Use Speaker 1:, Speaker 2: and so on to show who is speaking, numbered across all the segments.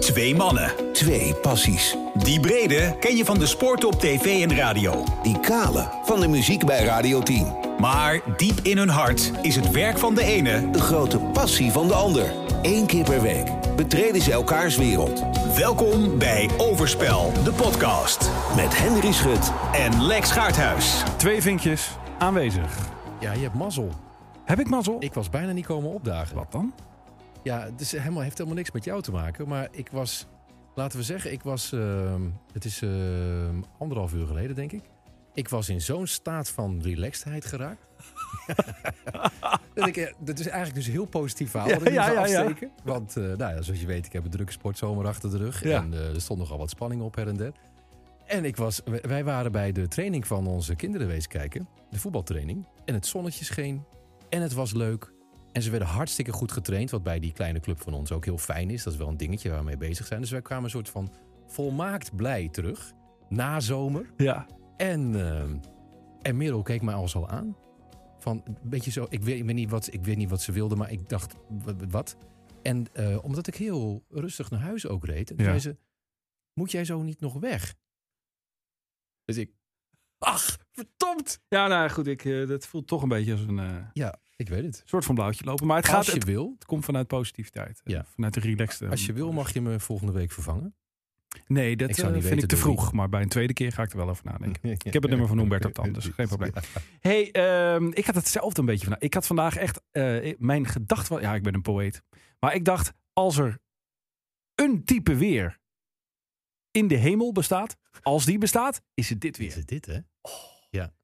Speaker 1: Twee mannen.
Speaker 2: Twee passies.
Speaker 1: Die brede ken je van de sport op tv en radio.
Speaker 2: Die kale van de muziek bij Radio 10.
Speaker 1: Maar diep in hun hart is het werk van de ene...
Speaker 2: De grote passie van de ander. Eén keer per week betreden ze elkaars wereld.
Speaker 1: Welkom bij Overspel, de podcast.
Speaker 2: Met Henry Schut.
Speaker 1: En Lex Gaarthuis.
Speaker 3: Twee vinkjes aanwezig.
Speaker 4: Ja, je hebt mazzel.
Speaker 3: Heb ik mazzel?
Speaker 4: Ik was bijna niet komen opdagen.
Speaker 3: Wat dan?
Speaker 4: Ja, dus helemaal, heeft helemaal niks met jou te maken. Maar ik was, laten we zeggen, ik was, ehm, het is ehm, anderhalf uur geleden, denk ik. Ik was in zo'n staat van relaxedheid geraakt. dat, ik, eh, dat is eigenlijk dus heel positief verhaal.
Speaker 3: Ja,
Speaker 4: wat ik nu
Speaker 3: ja,
Speaker 4: ga
Speaker 3: ja, ja.
Speaker 4: afsteken. Want eh, nou ja, zoals je weet, ik heb een drukke sportzomer achter de rug.
Speaker 3: Ja.
Speaker 4: En eh, er stond nogal wat spanning op her en der. En ik was, w- wij waren bij de training van onze kinderen wezen kijken. De voetbaltraining. En het zonnetje scheen. En het was leuk. En ze werden hartstikke goed getraind. Wat bij die kleine club van ons ook heel fijn is. Dat is wel een dingetje waar we mee bezig zijn. Dus wij kwamen een soort van volmaakt blij terug. Na zomer.
Speaker 3: Ja.
Speaker 4: En, ehm, en Merel keek mij alles al aan. Van een beetje zo, ik weet, ik weet niet wat, ik weet niet wat ze wilde, maar ik dacht, wa- wa- wat? En eh, omdat ik heel rustig naar huis ook reed, en toen
Speaker 3: Ja.
Speaker 4: zei ze, moet jij zo niet nog weg? Dus ik, ach, verdomd!
Speaker 3: Ja, nou goed, ik, eh, dat voelt toch een beetje als een eh,
Speaker 4: Ja, ik weet het.
Speaker 3: soort van blauwtje lopen. Maar het, gaat,
Speaker 4: Als je
Speaker 3: het,
Speaker 4: wil,
Speaker 3: komt vanuit positiviteit. eh,
Speaker 4: Ja.
Speaker 3: Vanuit de relaxed.
Speaker 4: als je wil mag je me volgende week vervangen.
Speaker 3: Nee, dat
Speaker 4: Ik
Speaker 3: eh,
Speaker 4: zou
Speaker 3: vind
Speaker 4: niet
Speaker 3: ik
Speaker 4: weten
Speaker 3: te
Speaker 4: door wie.
Speaker 3: vroeg. Maar bij een tweede keer ga ik er wel over nadenken. Ik heb het nummer van Humberto Tan, dus geen probleem.
Speaker 4: Hm.
Speaker 3: hey, ehm, ik had hetzelfde een beetje vandaag. Ik had vandaag echt, eh, mijn gedachte was, ja ik ben een poëet. Maar ik dacht, als er een type weer in de hemel bestaat, als die bestaat, is het dit
Speaker 4: Is
Speaker 3: weer.
Speaker 4: het dit, hè?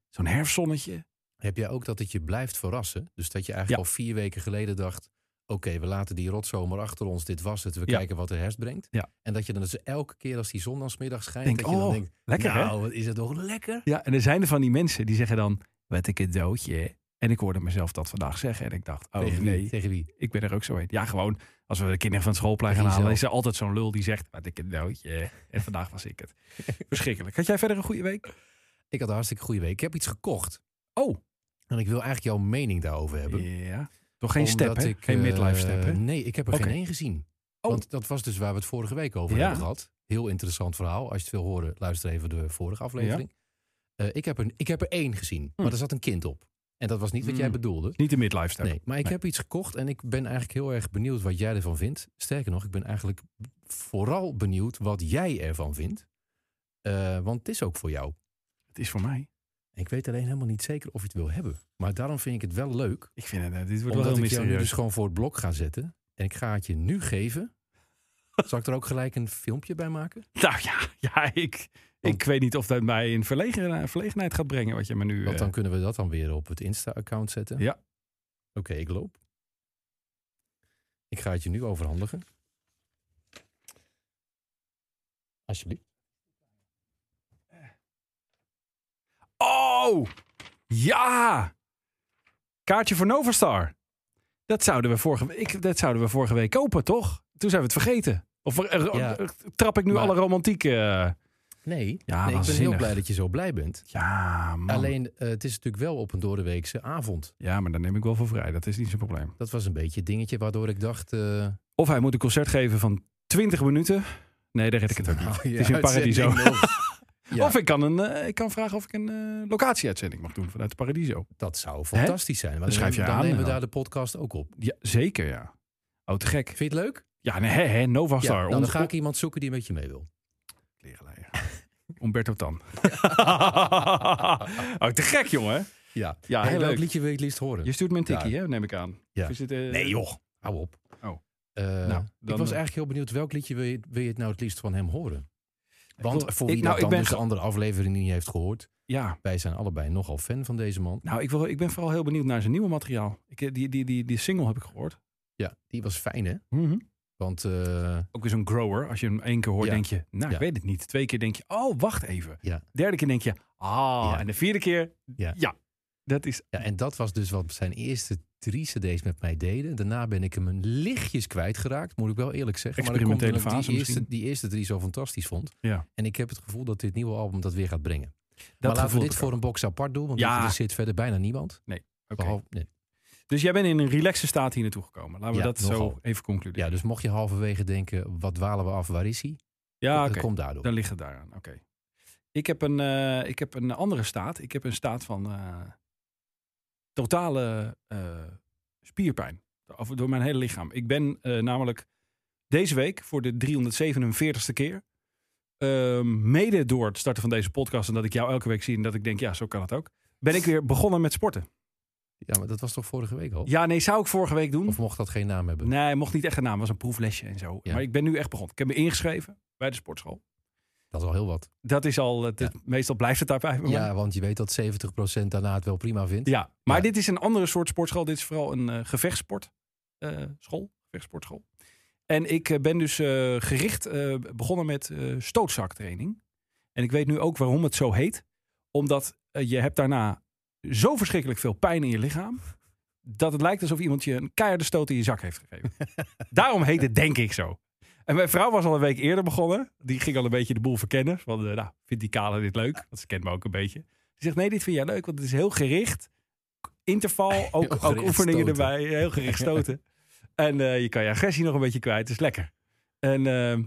Speaker 3: Zo'n herfstzonnetje.
Speaker 4: Heb jij ook dat het je blijft verrassen? Dus dat je eigenlijk al vier weken geleden dacht... oké, we laten die rotzomer achter ons, dit was het. We
Speaker 3: Ja.
Speaker 4: kijken wat de herfst brengt.
Speaker 3: Ja.
Speaker 4: En dat je dan dus elke keer als die zon dan 's middags schijnt...
Speaker 3: Denk,
Speaker 4: dat je dan
Speaker 3: oh,
Speaker 4: denkt,
Speaker 3: lekker, hè?
Speaker 4: nou, wat is het toch lekker?
Speaker 3: Ja, en er zijn er van die mensen die zeggen dan, wat ik het doodje. En ik hoorde mezelf dat vandaag zeggen en ik dacht, oh
Speaker 4: tegen,
Speaker 3: nee,
Speaker 4: wie, tegen wie?
Speaker 3: ik ben er ook zo een. Ja, gewoon, als we de kinderen van school pleiten gaan
Speaker 4: Tegen
Speaker 3: halen, is
Speaker 4: jezelf.
Speaker 3: er altijd zo'n lul die zegt, wat ik het doodje. En vandaag was ik het. Verschrikkelijk. Had jij verder een goede week?
Speaker 4: Ik had een hartstikke goede week. Ik heb iets gekocht.
Speaker 3: Oh,
Speaker 4: En ik wil eigenlijk jouw mening daarover hebben.
Speaker 3: ja. Toch geen step,
Speaker 4: Omdat
Speaker 3: hè?
Speaker 4: ik,
Speaker 3: geen midlife
Speaker 4: eh,
Speaker 3: step, hè?
Speaker 4: Nee, ik heb er
Speaker 3: Oké.
Speaker 4: geen één gezien.
Speaker 3: Oh.
Speaker 4: Want dat was dus waar we het vorige week over
Speaker 3: Ja.
Speaker 4: hebben gehad. Heel interessant verhaal. Als je het wil horen, luister even de vorige aflevering. Eh, ik, heb er, ik heb er één gezien,
Speaker 3: Hm.
Speaker 4: maar er zat een kind op. En dat was niet wat jij
Speaker 3: Hmm.
Speaker 4: bedoelde.
Speaker 3: Niet de midlife step.
Speaker 4: Nee, maar ik heb iets gekocht en ik ben eigenlijk heel erg benieuwd wat jij ervan vindt. Sterker nog, ik ben eigenlijk vooral benieuwd wat jij ervan vindt. Eh, want het is ook voor jou.
Speaker 3: Het is voor mij.
Speaker 4: Ik weet alleen helemaal niet zeker of je het wil hebben. Maar daarom vind ik het wel leuk
Speaker 3: Ik vind het, eh, dit wordt wel
Speaker 4: omdat
Speaker 3: heel
Speaker 4: ik jou nu
Speaker 3: mysterieus.
Speaker 4: dus gewoon voor het blok ga zetten. En ik ga het je nu geven. Zal ik er ook gelijk een filmpje bij maken?
Speaker 3: Nou ja, ja ik, ik
Speaker 4: Want-
Speaker 3: weet niet of dat mij in verlegen, verlegenheid gaat brengen, wat je me nu...
Speaker 4: Want
Speaker 3: eh,
Speaker 4: dan kunnen we dat dan weer op het Insta-account zetten.
Speaker 3: Ja.
Speaker 4: Oké, ik loop. Ik ga het je nu overhandigen. Alsjeblieft.
Speaker 3: Oh! Ja! Kaartje voor Novastar. Dat zouden we vorige, we- ik, dat zouden we vorige week kopen, toch? Toen zijn we het vergeten. Of eh, ro-
Speaker 4: Ja.
Speaker 3: eh, trap ik nu
Speaker 4: Maar-
Speaker 3: alle romantiek... eh, Ja,
Speaker 4: Nee, nee ik ben heel
Speaker 3: waanzinnig.
Speaker 4: blij dat je zo blij bent.
Speaker 3: Ja, man.
Speaker 4: Alleen, eh, het is natuurlijk wel op een doordeweekse avond.
Speaker 3: Ja, maar dan neem ik wel voor vrij. Dat is niet zo'n probleem.
Speaker 4: Dat was een beetje het dingetje waardoor ik dacht...
Speaker 3: Oh,
Speaker 4: eh,
Speaker 3: Of hij moet een concert geven van 20 minuten. Nee, daar red ik het ook niet.
Speaker 4: nou,
Speaker 3: het is
Speaker 4: ja,
Speaker 3: in Paradiso.
Speaker 4: uitzending nog. Ja.
Speaker 3: Of ik kan, een, eh, ik kan vragen of ik een eh, locatieuitzending mag doen vanuit Paradiso.
Speaker 4: Dat zou fantastisch zijn.
Speaker 3: Dan
Speaker 4: Maar dan,
Speaker 3: schrijf je
Speaker 4: dan
Speaker 3: aan en
Speaker 4: nemen we
Speaker 3: dan-
Speaker 4: daar de podcast ook op.
Speaker 3: Ja, zeker ja. Oh, te gek.
Speaker 4: Vind je het leuk?
Speaker 3: Ja, nee, hè, hè, Nova
Speaker 4: Ja,
Speaker 3: Star.
Speaker 4: nou, dan ga ik iemand zoeken die met je mee wil.
Speaker 3: Klerenleier. Umberto Tan. oh, te gek, jongen.
Speaker 4: Ja,
Speaker 3: Ja,
Speaker 4: Hey,
Speaker 3: Ah, heel
Speaker 4: welk
Speaker 3: leuk.
Speaker 4: liedje wil je het liefst horen?
Speaker 3: Je stuurt me een tikkie,
Speaker 4: Ja.
Speaker 3: hè, neem ik aan.
Speaker 4: Ja.
Speaker 3: Of is dit, eh,
Speaker 4: Nee joh, hou op.
Speaker 3: Oh.
Speaker 4: Eh,
Speaker 3: dan, eh,
Speaker 4: ik was eigenlijk heel benieuwd, welk liedje wil je, wil je het nou het liefst van hem horen? Want
Speaker 3: wil-
Speaker 4: voor
Speaker 3: ik-
Speaker 4: wie
Speaker 3: nou,
Speaker 4: dat
Speaker 3: ik
Speaker 4: dan
Speaker 3: ben
Speaker 4: dus de
Speaker 3: ge-
Speaker 4: andere aflevering niet heeft gehoord,
Speaker 3: Ja.
Speaker 4: wij zijn allebei nogal fan van deze man.
Speaker 3: Nou, ik, wil, ik ben vooral heel benieuwd naar zijn nieuwe materiaal. Ik, eh, die, die, die, die single heb ik gehoord.
Speaker 4: Ja, die was fijn hè? Want eh,
Speaker 3: Ook weer zo'n grower. Als je hem één keer hoort,
Speaker 4: Ja.
Speaker 3: denk je, nou, ik
Speaker 4: Ja.
Speaker 3: weet het niet. Twee keer denk je, oh, wacht even.
Speaker 4: Ja.
Speaker 3: Derde keer denk je, ah.
Speaker 4: Ja.
Speaker 3: En de vierde keer, ja.
Speaker 4: Ja.
Speaker 3: Dat is,
Speaker 4: ja, en dat was dus wat zijn eerste drie cd's met mij deden. Daarna ben ik hem een lichtjes kwijtgeraakt, moet ik wel eerlijk zeggen. Maar dat komt
Speaker 3: Experimentele
Speaker 4: omdat ik die
Speaker 3: fase
Speaker 4: eerste,
Speaker 3: misschien.
Speaker 4: die eerste drie zo fantastisch vond.
Speaker 3: Ja.
Speaker 4: En ik heb het gevoel dat dit nieuwe album dat weer gaat brengen.
Speaker 3: dat
Speaker 4: maar laten we
Speaker 3: gevoel
Speaker 4: dit
Speaker 3: heb ik
Speaker 4: voor een box apart doen, want
Speaker 3: Ja.
Speaker 4: er zit verder bijna niemand.
Speaker 3: ook. Oké.
Speaker 4: Behalve- nee.
Speaker 3: Dus jij bent in een relaxe staat hier naartoe gekomen. Laten we
Speaker 4: Ja,
Speaker 3: dat zo
Speaker 4: nogal.
Speaker 3: even concluderen.
Speaker 4: Ja, dus mocht je halverwege denken, wat dwalen we af, waar is hij?
Speaker 3: Ja,
Speaker 4: dat
Speaker 3: oké.
Speaker 4: komt daardoor.
Speaker 3: Dan ligt het daaraan. Oké. Ik, heb een, eh, ik heb een andere staat. Ik heb een staat van eh, totale eh, spierpijn. Of door mijn hele lichaam. Ik ben eh, namelijk deze week voor de 347ste keer. eh, mede door het starten van deze podcast en dat ik jou elke week zie en dat ik denk, ja, zo kan het ook. Ben ik weer begonnen met sporten.
Speaker 4: Ja, maar dat was toch vorige week al?
Speaker 3: Ja, nee, zou ik vorige week doen.
Speaker 4: Of mocht dat geen naam hebben?
Speaker 3: Nee, mocht niet echt een naam. was een proeflesje en zo.
Speaker 4: Ja.
Speaker 3: Maar ik ben nu echt begonnen. Ik heb me ingeschreven bij de sportschool.
Speaker 4: Dat is al heel wat.
Speaker 3: Dat is al, het,
Speaker 4: Ja.
Speaker 3: het- meestal blijft het daarbij. bij mij.
Speaker 4: Ja, want je weet dat 70% daarna het wel prima vindt.
Speaker 3: Ja, maar
Speaker 4: Ja.
Speaker 3: dit is een andere soort sportschool. Dit is vooral een eh gevechtsport, eh, school, gevechtsportschool. En ik eh, ben dus eh, gericht eh, begonnen met eh, stootzaktraining. En ik weet nu ook waarom het zo heet. Omdat eh, je hebt daarna zo verschrikkelijk veel pijn in je lichaam... dat het lijkt alsof iemand je een keiharde stoot in je zak heeft gegeven. Daarom heet het denk ik zo. En mijn vrouw was al een week eerder begonnen. Die ging al een beetje de boel verkennen. Van, eh, nou, vindt die kale dit leuk? Want ze kent me ook een beetje. Die zegt, nee, dit vind jij leuk, want het is heel gericht. Interval, ook, ook
Speaker 4: gericht
Speaker 3: oefeningen
Speaker 4: stoten.
Speaker 3: erbij. Heel gericht stoten. en eh, je kan je agressie nog een beetje kwijt. is lekker. En ehm,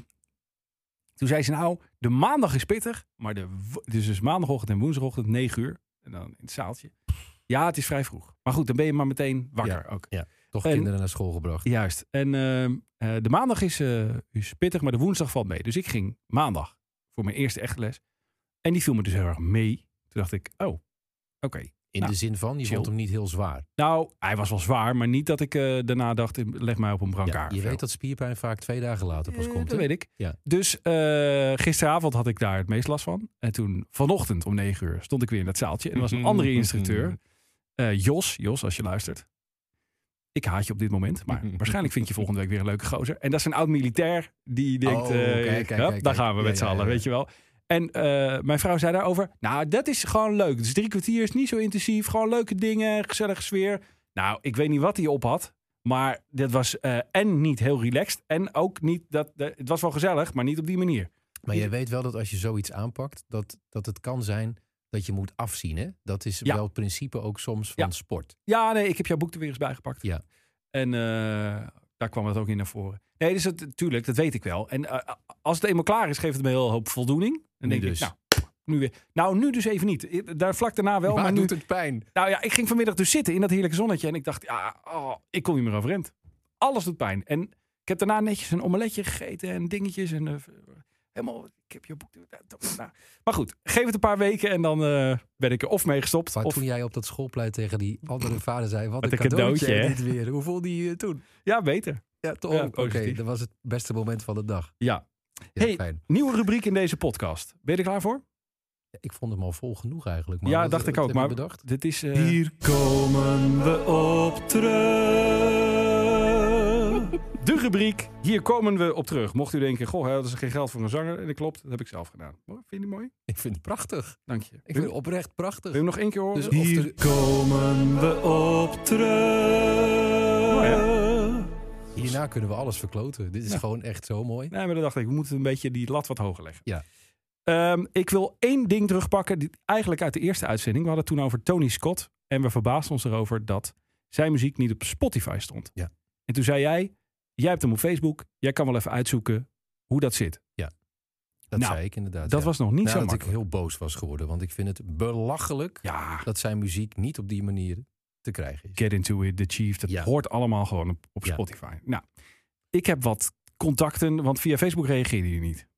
Speaker 3: toen zei ze, nou, de maandag is pittig. Maar de, wo- dus, dus maandagochtend en woensdagochtend 9 uur. En dan in het zaaltje. Ja, het is vrij vroeg. Maar goed, dan ben je maar meteen wakker ook.
Speaker 4: Toch
Speaker 3: En-
Speaker 4: kinderen naar school gebracht.
Speaker 3: Juist. En ehm, eh, de maandag is, eh, is pittig, maar de woensdag valt mee. Dus ik ging maandag voor mijn eerste echte les. En die viel me dus heel erg mee. Toen dacht ik, oh, oké.
Speaker 4: In
Speaker 3: Nou,
Speaker 4: de zin van, je
Speaker 3: chill.
Speaker 4: vond hem niet heel zwaar.
Speaker 3: Nou, hij was wel zwaar, maar niet dat ik eh, daarna dacht, leg mij op een
Speaker 4: Ja,
Speaker 3: brancard.
Speaker 4: je
Speaker 3: of zo.
Speaker 4: weet dat spierpijn vaak twee dagen later pas
Speaker 3: Eh,
Speaker 4: komt.
Speaker 3: Dat
Speaker 4: hè?
Speaker 3: weet ik.
Speaker 4: Ja.
Speaker 3: Dus eh, gisteravond had ik daar het meest last van. En toen vanochtend om negen uur stond ik weer in dat zaaltje. En er was een andere instructeur. eh, Jos, Jos, als je luistert. Ik haat je op dit moment, maar waarschijnlijk vind je volgende week weer een leuke gozer. En dat is een oud militair die denkt,
Speaker 4: Oh,
Speaker 3: eh,
Speaker 4: kijk, kijk,
Speaker 3: hup,
Speaker 4: kijk,
Speaker 3: daar
Speaker 4: kijk.
Speaker 3: gaan we
Speaker 4: Ja,
Speaker 3: met z'n
Speaker 4: ja,
Speaker 3: allen,
Speaker 4: ja.
Speaker 3: weet je wel. En eh, mijn vrouw zei daarover, nou dat is gewoon leuk. Dus drie kwartier is niet zo intensief, gewoon leuke dingen, gezellige sfeer. Nou, ik weet niet wat hij op had, maar dit was eh en niet heel relaxed en ook niet dat, de- het was wel gezellig, maar niet op die manier.
Speaker 4: Maar je weet wel dat als je zoiets aanpakt, dat, dat het kan zijn dat je moet afzien. Hè? Dat is
Speaker 3: Ja.
Speaker 4: wel het principe ook soms van
Speaker 3: Ja.
Speaker 4: sport.
Speaker 3: Ja, nee, ik heb jouw boek er weer eens bij gepakt.
Speaker 4: Ja.
Speaker 3: En eh, daar kwam het ook in naar voren. Nee, dus dat, natuurlijk, dat weet ik wel. En eh, als het eenmaal klaar is, geeft het me heel hoop voldoening. Dan
Speaker 4: Nu
Speaker 3: denk
Speaker 4: dus.
Speaker 3: ik, nou, nu weer. Nou, nu dus even niet. I- Daar vlak daarna wel.
Speaker 4: maar,
Speaker 3: maar nu,
Speaker 4: doet het pijn?
Speaker 3: nou ja, ik ging vanmiddag dus zitten in dat heerlijke zonnetje. En ik dacht, ja, oh, ik kom niet meer overeind. Alles doet pijn. En ik heb daarna netjes een omeletje gegeten en dingetjes. En eh, helemaal, ik heb je boek. nou. Maar goed, geef het een paar weken en dan eh, ben ik er of mee gestopt.
Speaker 4: Maar
Speaker 3: of,
Speaker 4: toen jij op dat schoolplein tegen die andere vader zei, wat,
Speaker 3: Wat
Speaker 4: een
Speaker 3: een
Speaker 4: cadeautje,
Speaker 3: cadeautje, hè?
Speaker 4: niet weer. Hoe voelde je je toen?
Speaker 3: Ja, beter.
Speaker 4: Ja, toch?
Speaker 3: Ja,
Speaker 4: Oké,
Speaker 3: positief.
Speaker 4: dat was het beste moment van de dag.
Speaker 3: Ja.
Speaker 4: Ja,
Speaker 3: Hey.
Speaker 4: fijn.
Speaker 3: Nieuwe rubriek in deze podcast. Ben je er klaar voor?
Speaker 4: Ja, Ik vond hem al vol genoeg eigenlijk. Maar
Speaker 3: ja,
Speaker 4: Nou, wat-
Speaker 3: dacht ik
Speaker 4: wat
Speaker 3: ook.
Speaker 4: heb je
Speaker 3: Maar
Speaker 4: bedacht?
Speaker 3: dit is. eh,
Speaker 5: komen we op terug.
Speaker 3: de rubriek. Hier komen we op terug. Mocht u denken, goh, hè, dat is geen geld voor een zanger. En dat klopt, dat heb ik zelf gedaan. Mooi, Vind je die mooi?
Speaker 4: Ik vind het prachtig.
Speaker 3: Dank je.
Speaker 4: Ik
Speaker 3: wil,
Speaker 4: vind het oprecht prachtig.
Speaker 3: wil je hem nog één keer horen?
Speaker 4: Dus of er-
Speaker 5: Komen we op terug.
Speaker 3: Mooi, Oh, hè?
Speaker 4: hierna kunnen we alles verkloten. Dit is
Speaker 3: Ja.
Speaker 4: gewoon echt zo mooi.
Speaker 3: Nee, maar dan dacht ik, we moeten een beetje die lat wat hoger leggen.
Speaker 4: Ja.
Speaker 3: Ehm, ik wil één ding terugpakken, die, eigenlijk uit de eerste uitzending. We hadden het toen over Tony Scott. En we verbaasden ons erover dat zijn muziek niet op Spotify stond.
Speaker 4: Ja.
Speaker 3: En toen zei jij, jij hebt hem op Facebook. Jij kan wel even uitzoeken hoe dat zit.
Speaker 4: Dat
Speaker 3: Nou,
Speaker 4: zei ik inderdaad.
Speaker 3: dat
Speaker 4: ja.
Speaker 3: was nog niet zo
Speaker 4: Nadat ik
Speaker 3: makkelijk.
Speaker 4: heel boos was geworden. Want ik vind het belachelijk
Speaker 3: Ja,
Speaker 4: dat zijn muziek niet op die manier te krijgen is.
Speaker 3: Get Into It, The Chief. Dat
Speaker 4: Ja.
Speaker 3: hoort allemaal gewoon op, op
Speaker 4: Ja.
Speaker 3: Spotify. Nou, ik heb wat contacten, want via Facebook reageerde je niet.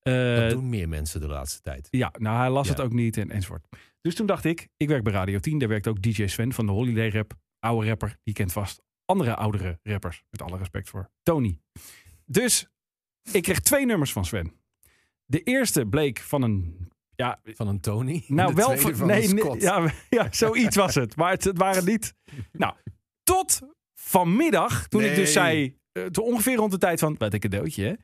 Speaker 3: Eh,
Speaker 4: Dat doen meer mensen de laatste tijd.
Speaker 3: Ja, nou hij las
Speaker 4: Ja.
Speaker 3: het ook niet en, enzovoort. Dus toen dacht ik, ik werk bij Radio 10. Daar werkt ook DJ Sven van de Holiday Rap. Oude rapper, die kent vast andere oudere rappers. Met alle respect voor Tony. Dus ik kreeg twee nummers van Sven. De eerste bleek van een... Ja,
Speaker 4: Van een Tony.
Speaker 3: nou,
Speaker 4: de
Speaker 3: wel
Speaker 4: tweede
Speaker 3: voor-
Speaker 4: van
Speaker 3: nee,
Speaker 4: een
Speaker 3: nee,
Speaker 4: Scott.
Speaker 3: ja, ja, zoiets was het. Maar het, het waren niet. Nou, tot vanmiddag, toen ik dus
Speaker 4: Nee.
Speaker 3: zei, eh, toen ongeveer rond de tijd van wat een cadeautje. Hè,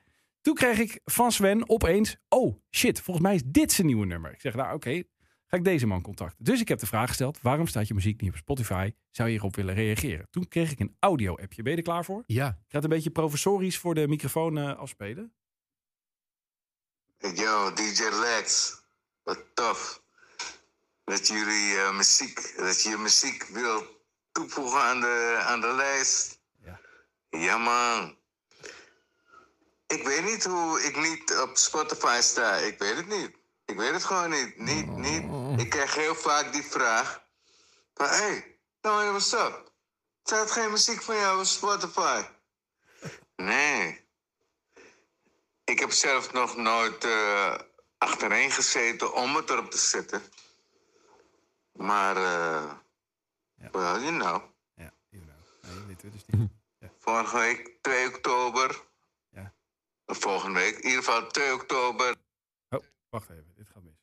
Speaker 3: toen kreeg ik van Sven opeens: Oh shit, volgens mij is dit zijn nieuwe nummer. Ik zeg, nou oké, ga ik deze man contacten. Dus ik heb de vraag gesteld: waarom staat je muziek niet op Spotify? Zou je hierop willen reageren? Toen kreeg ik een audio-appje. Ben je er klaar voor?
Speaker 4: Ja,
Speaker 3: Ik ga het een beetje professorisch voor de microfoon eh, afspelen.
Speaker 6: Yo, DJ Lex, wat tof dat jullie eh, muziek, dat je muziek wil toevoegen aan de, aan de lijst.
Speaker 7: Ja.
Speaker 6: Ja, man. Ik weet niet hoe ik niet op Spotify sta. Ik weet het niet. Ik weet het gewoon niet. Niet, niet. Ik krijg heel vaak die vraag. Van, hé, hey, nou, what's up? Staat geen muziek van jou op Spotify? Nee. Ik heb zelf nog nooit eh, achtereen gezeten om het erop te zetten. Maar, eh well, you know.
Speaker 3: Ja, you know. Nee, dit- dit is dus niet.
Speaker 6: Vorige week, 2 oktober.
Speaker 3: Ja.
Speaker 6: Volgende week, in ieder geval 2 oktober.
Speaker 3: Oh, wacht even. Dit gaat mis.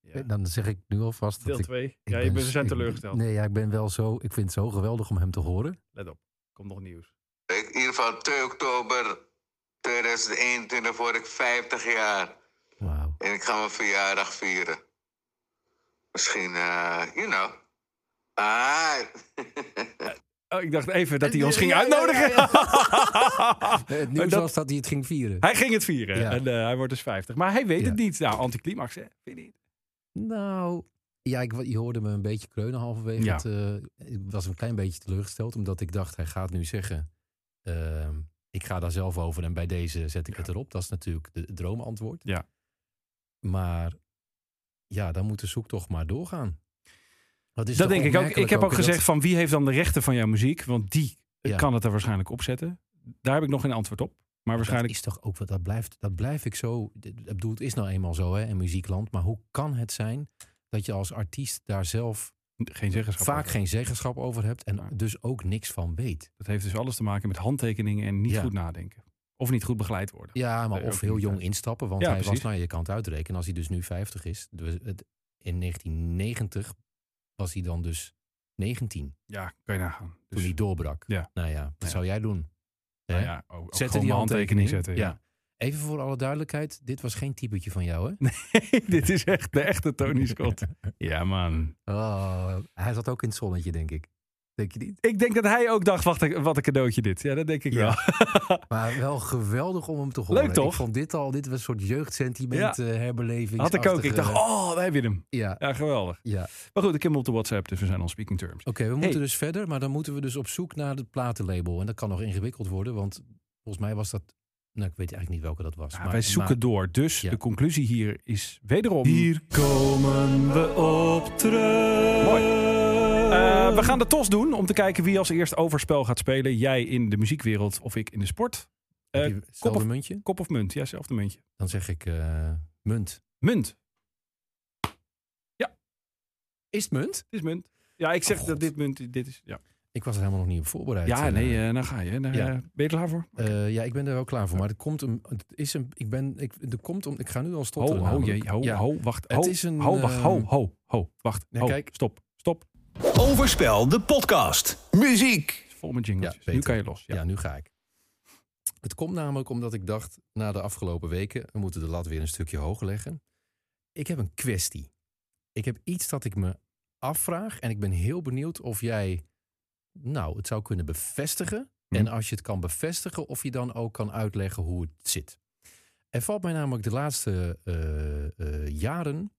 Speaker 3: Ja.
Speaker 4: Eh, Dan zeg ik nu alvast dat
Speaker 3: Deel
Speaker 4: ik...
Speaker 3: 2.
Speaker 4: ik
Speaker 3: Ja, je
Speaker 4: ben-
Speaker 3: bent zijn
Speaker 4: ik-
Speaker 3: teleurgesteld.
Speaker 4: Nee, ja, ik ben wel zo... Ik vind het zo geweldig om hem te horen.
Speaker 3: Let op. Komt nog nieuws.
Speaker 6: In ieder geval 2 oktober 2021 word ik 50 jaar.
Speaker 4: Wauw.
Speaker 6: En ik ga mijn verjaardag vieren. Misschien, eh, you know. Ah.
Speaker 3: Oh, ik dacht even dat hij ons
Speaker 4: Ja,
Speaker 3: ging
Speaker 4: ja, ja,
Speaker 3: uitnodigen.
Speaker 4: ja, Nee, Eh, Het nieuws
Speaker 3: Dat-
Speaker 4: was dat hij het ging vieren.
Speaker 3: Hij ging het vieren.
Speaker 4: Ja.
Speaker 3: En eh, hij wordt dus 50. Maar hij weet
Speaker 4: Ja.
Speaker 3: het niet. Nou, anticlimax, hè? Vind je niet?
Speaker 4: Nou, ja, ik, je hoorde me een beetje kreunen halverwege.
Speaker 3: Ja.
Speaker 4: Het, eh, ik was een klein beetje teleurgesteld, omdat ik dacht, hij gaat nu zeggen... ehm, ik ga daar zelf over en bij deze zet ik het erop. Dat is natuurlijk de- het droomantwoord.
Speaker 3: Ja.
Speaker 4: Maar ja, dan moet de zoektocht maar doorgaan. Wat is
Speaker 3: dat
Speaker 4: toch
Speaker 3: denk ik ook. Ik
Speaker 4: opmerkelijk
Speaker 3: heb ook
Speaker 4: dat-
Speaker 3: gezegd van wie heeft dan de rechten van jouw muziek? Want die
Speaker 4: Ja.
Speaker 3: kan het er waarschijnlijk opzetten. Daar heb ik nog geen antwoord op. Maar waarschijnlijk...
Speaker 4: Dat is toch ook wat, dat blijft, dat blijf ik zo. Ik bedoel, het is nou eenmaal zo, hè, in muziekland. Maar hoe kan het zijn dat je als artiest daar zelf
Speaker 3: Geen zeggenschap.
Speaker 4: vaak
Speaker 3: over.
Speaker 4: geen zeggenschap over hebt en
Speaker 3: Ja.
Speaker 4: dus ook niks van weet?
Speaker 3: Dat heeft dus alles te maken met handtekeningen en niet
Speaker 4: Ja.
Speaker 3: goed nadenken. Of niet goed begeleid worden.
Speaker 4: Ja, maar
Speaker 3: Nee,
Speaker 4: of
Speaker 3: ook
Speaker 4: heel
Speaker 3: niet,
Speaker 4: jong
Speaker 3: ja.
Speaker 4: instappen, want
Speaker 3: Ja,
Speaker 4: hij was
Speaker 3: precies.
Speaker 4: naar je kant uitrekenen. Als hij dus nu 50 is, dus het- in 1990 was hij dan dus 19
Speaker 3: Ja, kan je nagaan.
Speaker 4: toen hij doorbrak.
Speaker 3: Dus Ja.
Speaker 4: Nou ja, wat
Speaker 3: Ja.
Speaker 4: zou jij doen?
Speaker 3: nou
Speaker 4: Hè?
Speaker 3: ja, ook, ook
Speaker 4: Zetten
Speaker 3: gewoon mijn handtekening zetten.
Speaker 4: Ja.
Speaker 3: Ja.
Speaker 4: Even voor alle duidelijkheid, dit was geen typetje van jou, hè?
Speaker 3: Dit is echt de echte Tony Scott. ja, man.
Speaker 4: Oh, hij zat ook in het zonnetje, denk ik. Denk je niet?
Speaker 3: Ik denk dat hij ook dacht, wacht, wat een cadeautje dit. Ja, dat denk ik
Speaker 4: Ja.
Speaker 3: wel.
Speaker 4: Maar wel geweldig om hem te horen.
Speaker 3: Leuk, toch?
Speaker 4: Ik vond dit al, dit was een soort jeugdsentiment,
Speaker 3: Ja.
Speaker 4: ja. herbeleving.
Speaker 3: Had ik ook. Ik dacht, oh, wij hebben hem.
Speaker 4: Ja,
Speaker 3: Ja, geweldig.
Speaker 4: ja. Oké,
Speaker 3: Maar goed, ik heb hem op de WhatsApp, dus we zijn on speaking terms.
Speaker 4: we moeten dus verder, maar dan moeten we dus op zoek naar het platenlabel. En dat kan nog ingewikkeld worden, want volgens mij was dat... Nou, ik weet eigenlijk niet welke dat was.
Speaker 3: Ja,
Speaker 4: maar, Hm,
Speaker 3: wij zoeken door. Dus
Speaker 4: Ja.
Speaker 3: de conclusie hier is wederom... Hier komen we op terug. Mooi. Eh, we gaan de tos doen om te kijken wie als eerst overspel gaat spelen. Jij in de muziekwereld of ik in de sport.
Speaker 4: maar,
Speaker 3: Eh,
Speaker 4: heb je
Speaker 3: kop,
Speaker 4: hetzelfde
Speaker 3: of,
Speaker 4: muntje?
Speaker 3: kop of munt? Ja, zelfde muntje.
Speaker 4: Dan zeg ik eh, munt.
Speaker 3: Munt. Het
Speaker 4: Is het munt?
Speaker 3: is munt. Ja, ik zeg
Speaker 4: Oh,
Speaker 3: dat
Speaker 4: God.
Speaker 3: dit munt... Dit is, ja,
Speaker 4: Ik was er helemaal nog niet op voorbereid.
Speaker 3: ja
Speaker 4: Eh,
Speaker 3: nee, eh, nou ga je. Nou,
Speaker 4: ja.
Speaker 3: eh, ben je er klaar voor?
Speaker 4: Eh, ja, ik ben er wel klaar voor. Maar het komt om, het is een, ik ben, ik, er komt om, ik ga nu al stotteren.
Speaker 3: Ho, ho,
Speaker 4: namelijk.
Speaker 3: jee, ho,
Speaker 4: Ja.
Speaker 3: ho, wacht. Ho,
Speaker 4: Het is een,
Speaker 3: ho, wacht, ho,
Speaker 4: ehm,
Speaker 3: ho, ho, wacht.
Speaker 4: Ja,
Speaker 3: ho,
Speaker 4: kijk.
Speaker 3: Stop, stop.
Speaker 1: Overspel, de podcast.
Speaker 8: Muziek.
Speaker 3: Vol met jingletjes.
Speaker 4: Ja,
Speaker 3: Dus nu
Speaker 4: beter.
Speaker 3: kan je los. Ja.
Speaker 4: Ja, nu ga ik. Het komt namelijk omdat ik dacht, na de afgelopen weken, we moeten de lat weer een stukje hoger leggen. Ik heb een kwestie. Ik heb iets dat ik me afvraag en ik ben heel benieuwd of jij, nou, het zou kunnen bevestigen.
Speaker 3: Hm.
Speaker 4: En als je het kan bevestigen, of je dan ook kan uitleggen hoe het zit. Er valt mij namelijk de laatste eh, eh, jaren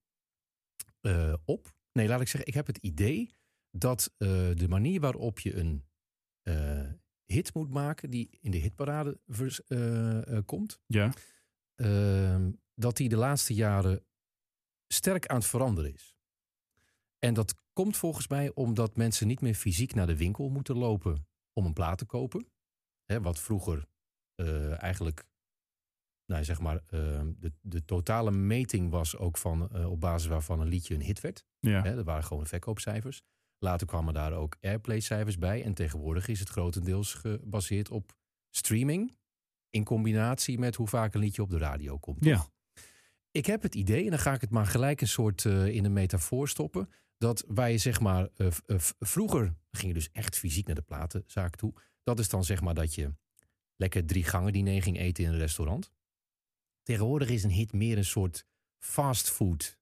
Speaker 4: eh, op. Nee, laat ik zeggen, ik heb het idee dat eh, de manier waarop je een eh, hit moet maken die in de hitparade vers- eh, eh, komt,
Speaker 3: Ja.
Speaker 4: ehm, dat die de laatste jaren sterk aan het veranderen is. En dat komt volgens mij omdat mensen niet meer fysiek naar de winkel moeten lopen om een plaat te kopen. Hè, wat vroeger eh, eigenlijk, nou, zeg maar, eh, de, de totale meting was ook van, eh, op basis waarvan een liedje een hit werd.
Speaker 3: ja.
Speaker 4: Hè, dat waren gewoon verkoopcijfers. Later kwamen daar ook airplay-cijfers bij. En tegenwoordig is het grotendeels gebaseerd op streaming. In combinatie met hoe vaak een liedje op de radio komt.
Speaker 3: Ja.
Speaker 4: toch? Ik heb het idee, en dan ga ik het maar gelijk een soort eh, in een metafoor stoppen. Dat wij zeg maar, eh, v- eh, v- vroeger ging je dus echt fysiek naar de platenzaak toe. Dat is dan zeg maar dat je lekker drie gangen diner ging eten in een restaurant. Tegenwoordig is een hit meer een soort fastfood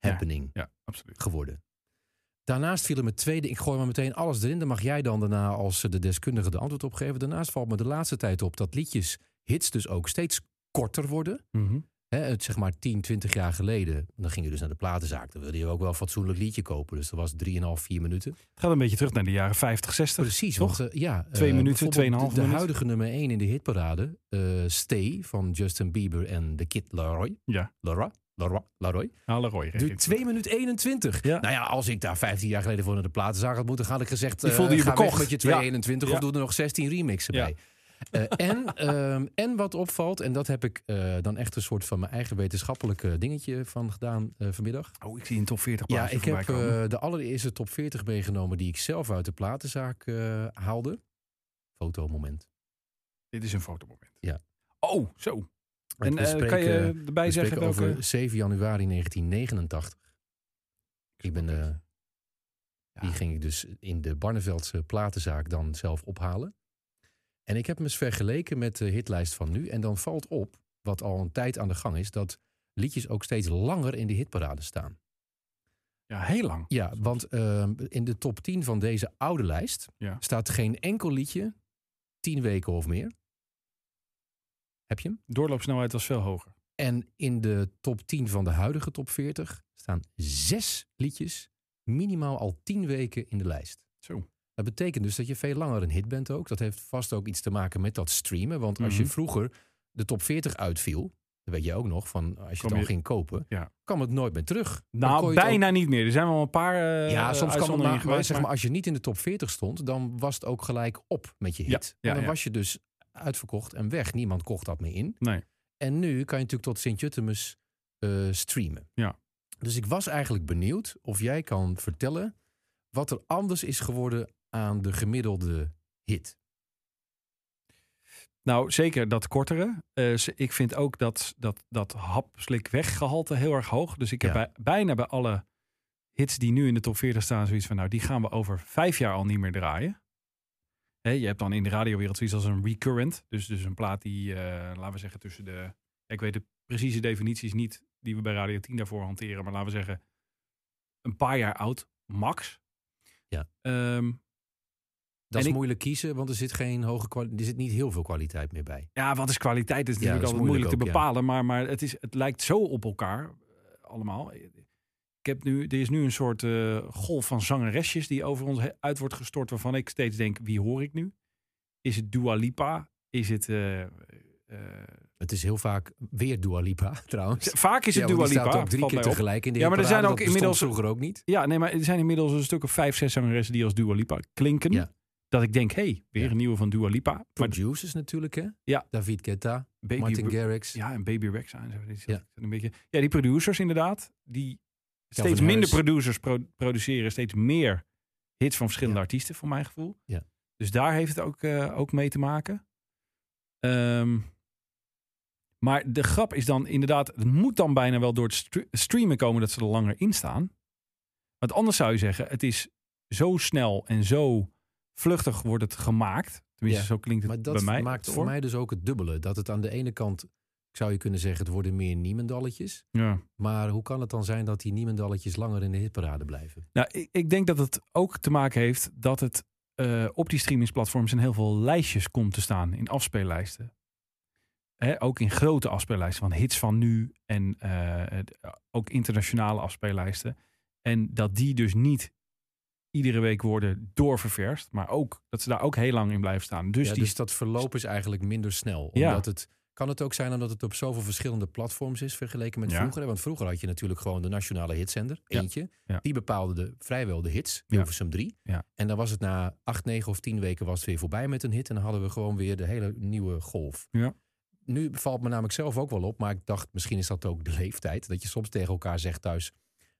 Speaker 3: Ja.
Speaker 4: happening
Speaker 3: Ja, absoluut.
Speaker 4: geworden. Daarnaast viel er me tweede, ik gooi maar meteen alles erin. Dan mag jij dan daarna als eh, de deskundige de antwoord op geven. Daarnaast valt me de laatste tijd op dat liedjes, hits dus ook steeds korter worden. Hè, het, zeg maar 10, 20 jaar geleden, dan ging je dus naar de platenzaak. Dan wilde je ook wel een fatsoenlijk liedje kopen. Dus dat was 3,5, 4 minuten.
Speaker 3: Het gaat een beetje terug naar de jaren 50, 60.
Speaker 4: Precies,
Speaker 3: toch?
Speaker 4: want eh, ja,
Speaker 3: Twee
Speaker 4: eh,
Speaker 3: minuten,
Speaker 4: bijvoorbeeld
Speaker 3: tweeënhalf
Speaker 4: De, de
Speaker 3: minuut.
Speaker 4: huidige nummer 1 in de hitparade, eh, Stay van Justin Bieber en The Kid Laroi.
Speaker 3: Ja.
Speaker 4: Lara, Lara, Laroy.
Speaker 3: Alle Roy. reed
Speaker 4: Duurt
Speaker 3: het.
Speaker 4: 2 minuten 21.
Speaker 3: Ja.
Speaker 4: Nou ja, als ik daar 15 jaar geleden voor naar de platenzaak had moeten gaan, had ik gezegd:
Speaker 3: Die
Speaker 4: eh,
Speaker 3: voelde je
Speaker 4: ga weg
Speaker 3: bekocht.
Speaker 4: met je 2 21
Speaker 3: Ja.
Speaker 4: of doe er nog 16 remixen
Speaker 3: Ja.
Speaker 4: bij. Eh, en, ehm, en wat opvalt, en dat heb ik eh, dan echt een soort van mijn eigen wetenschappelijke dingetje van gedaan eh, vanmiddag.
Speaker 3: Oh, ik zie een top 40
Speaker 4: Ja,
Speaker 3: plaatje
Speaker 4: ik
Speaker 3: voorbij
Speaker 4: heb
Speaker 3: komen.
Speaker 4: eh, de allereerste top 40 meegenomen die ik zelf uit de platenzaak eh, haalde. Fotomoment.
Speaker 3: Dit is een fotomoment.
Speaker 4: Ja.
Speaker 3: Oh, zo. En
Speaker 4: We
Speaker 3: eh,
Speaker 4: spreken-
Speaker 3: kan je
Speaker 4: we
Speaker 3: erbij zeggen
Speaker 4: spreken
Speaker 3: welke...
Speaker 4: over 7 januari 1989. Ik ben, eh, Die ging ik dus in de Barneveldse platenzaak dan zelf ophalen. En ik heb hem eens vergeleken met de hitlijst van nu. En dan valt op, wat al een tijd aan de gang is, dat liedjes ook steeds langer in de hitparade staan.
Speaker 3: Ja, heel lang.
Speaker 4: Ja, want ehm, in de top 10 van deze oude lijst
Speaker 3: Ja.
Speaker 4: staat geen enkel liedje 10 weken of meer. Heb je hem?
Speaker 3: Doorloopsnelheid was veel hoger.
Speaker 4: En in de top 10 van de huidige top 40 staan zes liedjes minimaal al 10 weken in de lijst.
Speaker 3: Zo.
Speaker 4: Dat betekent dus dat je veel langer een hit bent ook. Dat heeft vast ook iets te maken met dat streamen. Want als je
Speaker 3: Mhm.
Speaker 4: vroeger de top 40 uitviel, dat weet je ook nog, van als je
Speaker 3: Kom
Speaker 4: het dan
Speaker 3: je-
Speaker 4: ging kopen,
Speaker 3: Ja.
Speaker 4: kwam het nooit meer terug. Dan kon
Speaker 3: Nou,
Speaker 4: je het ook-
Speaker 3: bijna niet meer. Er zijn wel een paar eh
Speaker 4: ja, soms kan het
Speaker 3: uitzonderingen
Speaker 4: maar, maar
Speaker 3: geweest,
Speaker 4: zeg maar, als je niet in de top 40 stond, dan was het ook gelijk op met je
Speaker 3: Ja,
Speaker 4: hit.
Speaker 3: ja,
Speaker 4: En dan
Speaker 3: ja.
Speaker 4: was je dus uitverkocht en weg. Niemand kocht dat meer in.
Speaker 3: Nee.
Speaker 4: En nu kan je natuurlijk tot Sint-Jutemus eh, streamen.
Speaker 3: Ja.
Speaker 4: Dus ik was eigenlijk benieuwd of jij kan vertellen wat er anders is geworden aan de gemiddelde hit.
Speaker 3: Nou, zeker dat kortere. Eh, ze- ik vind ook dat, dat, dat hap-slik-weg-gehalte heel erg hoog. Dus ik heb
Speaker 4: Ja.
Speaker 3: bij- bijna bij alle hits die nu in de top 40 staan... zoiets van, nou, die gaan we over vijf jaar al niet meer draaien. Hè, je hebt dan in de radiowereld zoiets als een recurrent. Dus, dus een plaat die, eh, laten we zeggen, tussen de... Ik weet de precieze definities niet die we bij Radio 10 daarvoor hanteren. Maar laten we zeggen, een paar jaar oud, max.
Speaker 4: Ja.
Speaker 3: Ehm,
Speaker 4: Dat
Speaker 3: En
Speaker 4: is
Speaker 3: ik-
Speaker 4: moeilijk kiezen, want er zit, geen hoge kwali- er zit niet heel veel kwaliteit meer bij.
Speaker 3: Ja, wat is kwaliteit? Dat is
Speaker 4: Ja,
Speaker 3: natuurlijk
Speaker 4: dat is
Speaker 3: altijd moeilijk,
Speaker 4: moeilijk
Speaker 3: te
Speaker 4: ook,
Speaker 3: bepalen.
Speaker 4: ja.
Speaker 3: Maar, maar het, is, het lijkt zo op elkaar eh, allemaal. Ik heb nu, er is nu een soort eh, golf van zangeresjes die over ons he- uit wordt gestort. Waarvan ik steeds denk, wie hoor ik nu? Is het Dua Lipa? Is het... eh, eh,
Speaker 4: Het is heel vaak weer Dua Lipa trouwens.
Speaker 3: vaak is
Speaker 4: Ja,
Speaker 3: het
Speaker 4: want
Speaker 3: Dua
Speaker 4: die
Speaker 3: Lipa.
Speaker 4: staat ook drie
Speaker 3: valt
Speaker 4: keer
Speaker 3: mij op.
Speaker 4: tegelijk in de
Speaker 3: Ja, maar er
Speaker 4: hitparade.
Speaker 3: zijn ook
Speaker 4: Dat bestond
Speaker 3: inmiddels-
Speaker 4: vroeger ook niet.
Speaker 3: Ja, nee, maar er zijn inmiddels een stuk of vijf, zes zangeressen die als Dua Lipa klinken.
Speaker 4: Ja.
Speaker 3: Dat ik denk, hey, weer
Speaker 4: Ja.
Speaker 3: een nieuwe van Dua Lipa. Maar
Speaker 4: producers natuurlijk, hè?
Speaker 3: Ja.
Speaker 4: David Guetta,
Speaker 3: Baby
Speaker 4: Martin
Speaker 3: Bru-
Speaker 4: Garrix.
Speaker 3: Ja, en Baby Rexa en zo. Die zat-
Speaker 4: Ja.
Speaker 3: Een beetje, ja, die producers inderdaad. Die steeds
Speaker 4: Harris.
Speaker 3: minder producers pro- produceren steeds meer hits van verschillende
Speaker 4: Ja.
Speaker 3: artiesten, voor mijn gevoel.
Speaker 4: Ja.
Speaker 3: Dus daar heeft het ook, eh, ook mee te maken. Ehm, maar de grap is dan inderdaad, het moet dan bijna wel door het stre- streamen komen dat ze er langer in staan. Want anders zou je zeggen, het is zo snel en zo vluchtig wordt het gemaakt. Tenminste,
Speaker 4: Ja,
Speaker 3: zo klinkt het
Speaker 4: Maar Dus dat
Speaker 3: bij mij.
Speaker 4: maakt voor
Speaker 3: voor.
Speaker 4: mij dus ook het dubbele. Dat het aan de ene kant, zou je kunnen zeggen, het worden meer niemendalletjes.
Speaker 3: Ja.
Speaker 4: Maar hoe kan het dan zijn dat die niemendalletjes langer in de hitparade blijven?
Speaker 3: Nou, ik, ik denk dat het ook te maken heeft dat het eh, op die streamingsplatforms in heel veel lijstjes komt te staan, in afspeellijsten. Hè, ook in grote afspeellijsten van hits van nu en eh, het- ook internationale afspeellijsten. En dat die dus niet iedere week worden doorververst, maar ook dat ze daar ook heel lang in blijven staan. Dus
Speaker 4: Dus, ja,
Speaker 3: die
Speaker 4: dus dat verloop is eigenlijk minder snel. Omdat
Speaker 3: Ja.
Speaker 4: het, kan het ook zijn omdat het op zoveel verschillende platforms is vergeleken met
Speaker 3: Ja.
Speaker 4: vroeger? Want vroeger had je natuurlijk gewoon de nationale hitzender,
Speaker 3: Ja.
Speaker 4: eentje.
Speaker 3: Ja.
Speaker 4: Die bepaalde de, vrijwel de hits, Hilversum 3.
Speaker 3: Ja.
Speaker 4: En dan was het na acht, negen of tien weken was het weer voorbij met een hit. En dan hadden we gewoon weer de hele nieuwe golf.
Speaker 3: Ja.
Speaker 4: Nu valt me namelijk zelf ook wel op, maar ik dacht misschien is dat ook de leeftijd. Dat je soms tegen elkaar zegt thuis,